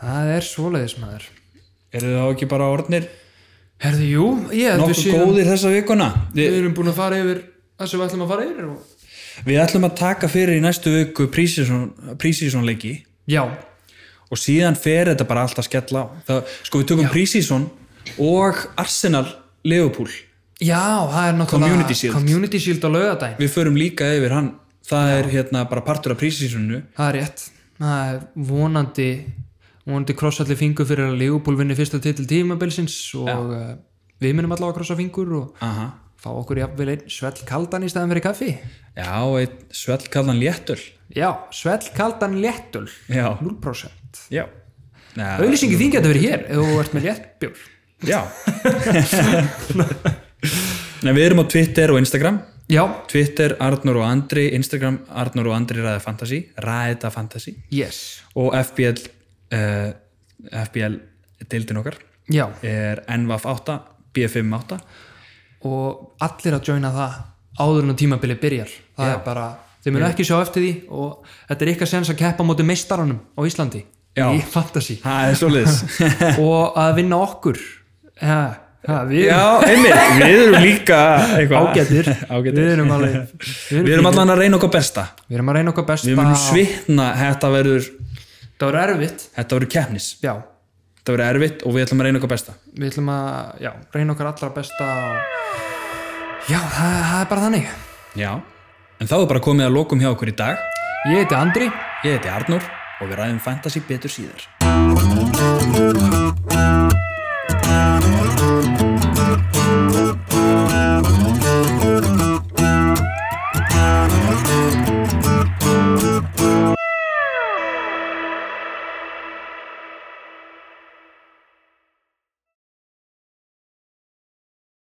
[SPEAKER 2] Það er svoleiðis maður
[SPEAKER 1] eru það ekki bara orðnir
[SPEAKER 2] Herðu, jú, ég held við
[SPEAKER 1] nokkuð
[SPEAKER 2] séum
[SPEAKER 1] góðir þessa vikuna
[SPEAKER 2] Við
[SPEAKER 1] við,
[SPEAKER 2] erum búin að fara yfir það sem við ætlum að fara yfir og...
[SPEAKER 1] við ætlum að taka fyrir í næstu viku prísísson leiki
[SPEAKER 2] Já,
[SPEAKER 1] og síðan fer þetta bara allt að skella á það, sko við tökum prísísson og Arsenal Liverpool
[SPEAKER 2] já, það er náttúrulega
[SPEAKER 1] Community Shield.
[SPEAKER 2] Community Shield á laugardaginn
[SPEAKER 1] við förum líka yfir hann það er hérna bara partur af prísísonu
[SPEAKER 2] Það er rétt Það er vonandi vonandi krossalli fingur fyrir að Leopold vinni fyrsta titil tímabilsins og uh, við minnum allavega að krossa fingur og
[SPEAKER 1] aha
[SPEAKER 2] fá okkur jafnvel einn svell kaldan í staðan fyrir kaffi
[SPEAKER 1] já, einn svellkallan léttul
[SPEAKER 2] Já, svell kaldan léttul
[SPEAKER 1] já,
[SPEAKER 2] 0%
[SPEAKER 1] já Nei,
[SPEAKER 2] Auðlýsingi þín getur verið hér ef þú ert með léttbjór
[SPEAKER 1] já Nei, við erum á Twitter og Instagram
[SPEAKER 2] Já,
[SPEAKER 1] Twitter Arnur og Andri Instagram Arnur og Andri Ræða Fantasy Ræða Fantasy
[SPEAKER 2] yes
[SPEAKER 1] og FBL uh, FBL deildin okkar
[SPEAKER 2] Já,
[SPEAKER 1] er NVAF 8 B5 8
[SPEAKER 2] og allir að joina það áður en að tímabili byrjar það er bara, þeir munu ekki sjá eftir því og þetta er ykkar sens að keppa móti meistaranum á Íslandi
[SPEAKER 1] Já.
[SPEAKER 2] í fantasy
[SPEAKER 1] það er svoleiðis
[SPEAKER 2] og að vinna okkur ha, ha, við
[SPEAKER 1] já,
[SPEAKER 2] erum
[SPEAKER 1] einmitt, við erum líka eitthvað-
[SPEAKER 2] ágætir
[SPEAKER 1] ágætir.
[SPEAKER 2] við erum alveg við
[SPEAKER 1] við
[SPEAKER 2] erum,
[SPEAKER 1] erum allan að reyna okkar besta
[SPEAKER 2] við erum að reyna okkar besta
[SPEAKER 1] við munum svitna, þetta verður
[SPEAKER 2] það voru erfitt
[SPEAKER 1] þetta verður keppnis,
[SPEAKER 2] já,
[SPEAKER 1] þetta verður erfitt og við ætlum að reyna okkar besta
[SPEAKER 2] við ætlum að já, reyna okkar allra besta og... já, það, það er bara þannig
[SPEAKER 1] já, en þá er bara komið að lokum hjá okkur í dag
[SPEAKER 2] ég heiti Andri
[SPEAKER 1] ég heiti Arnur og við ræðum fantasy betur síðar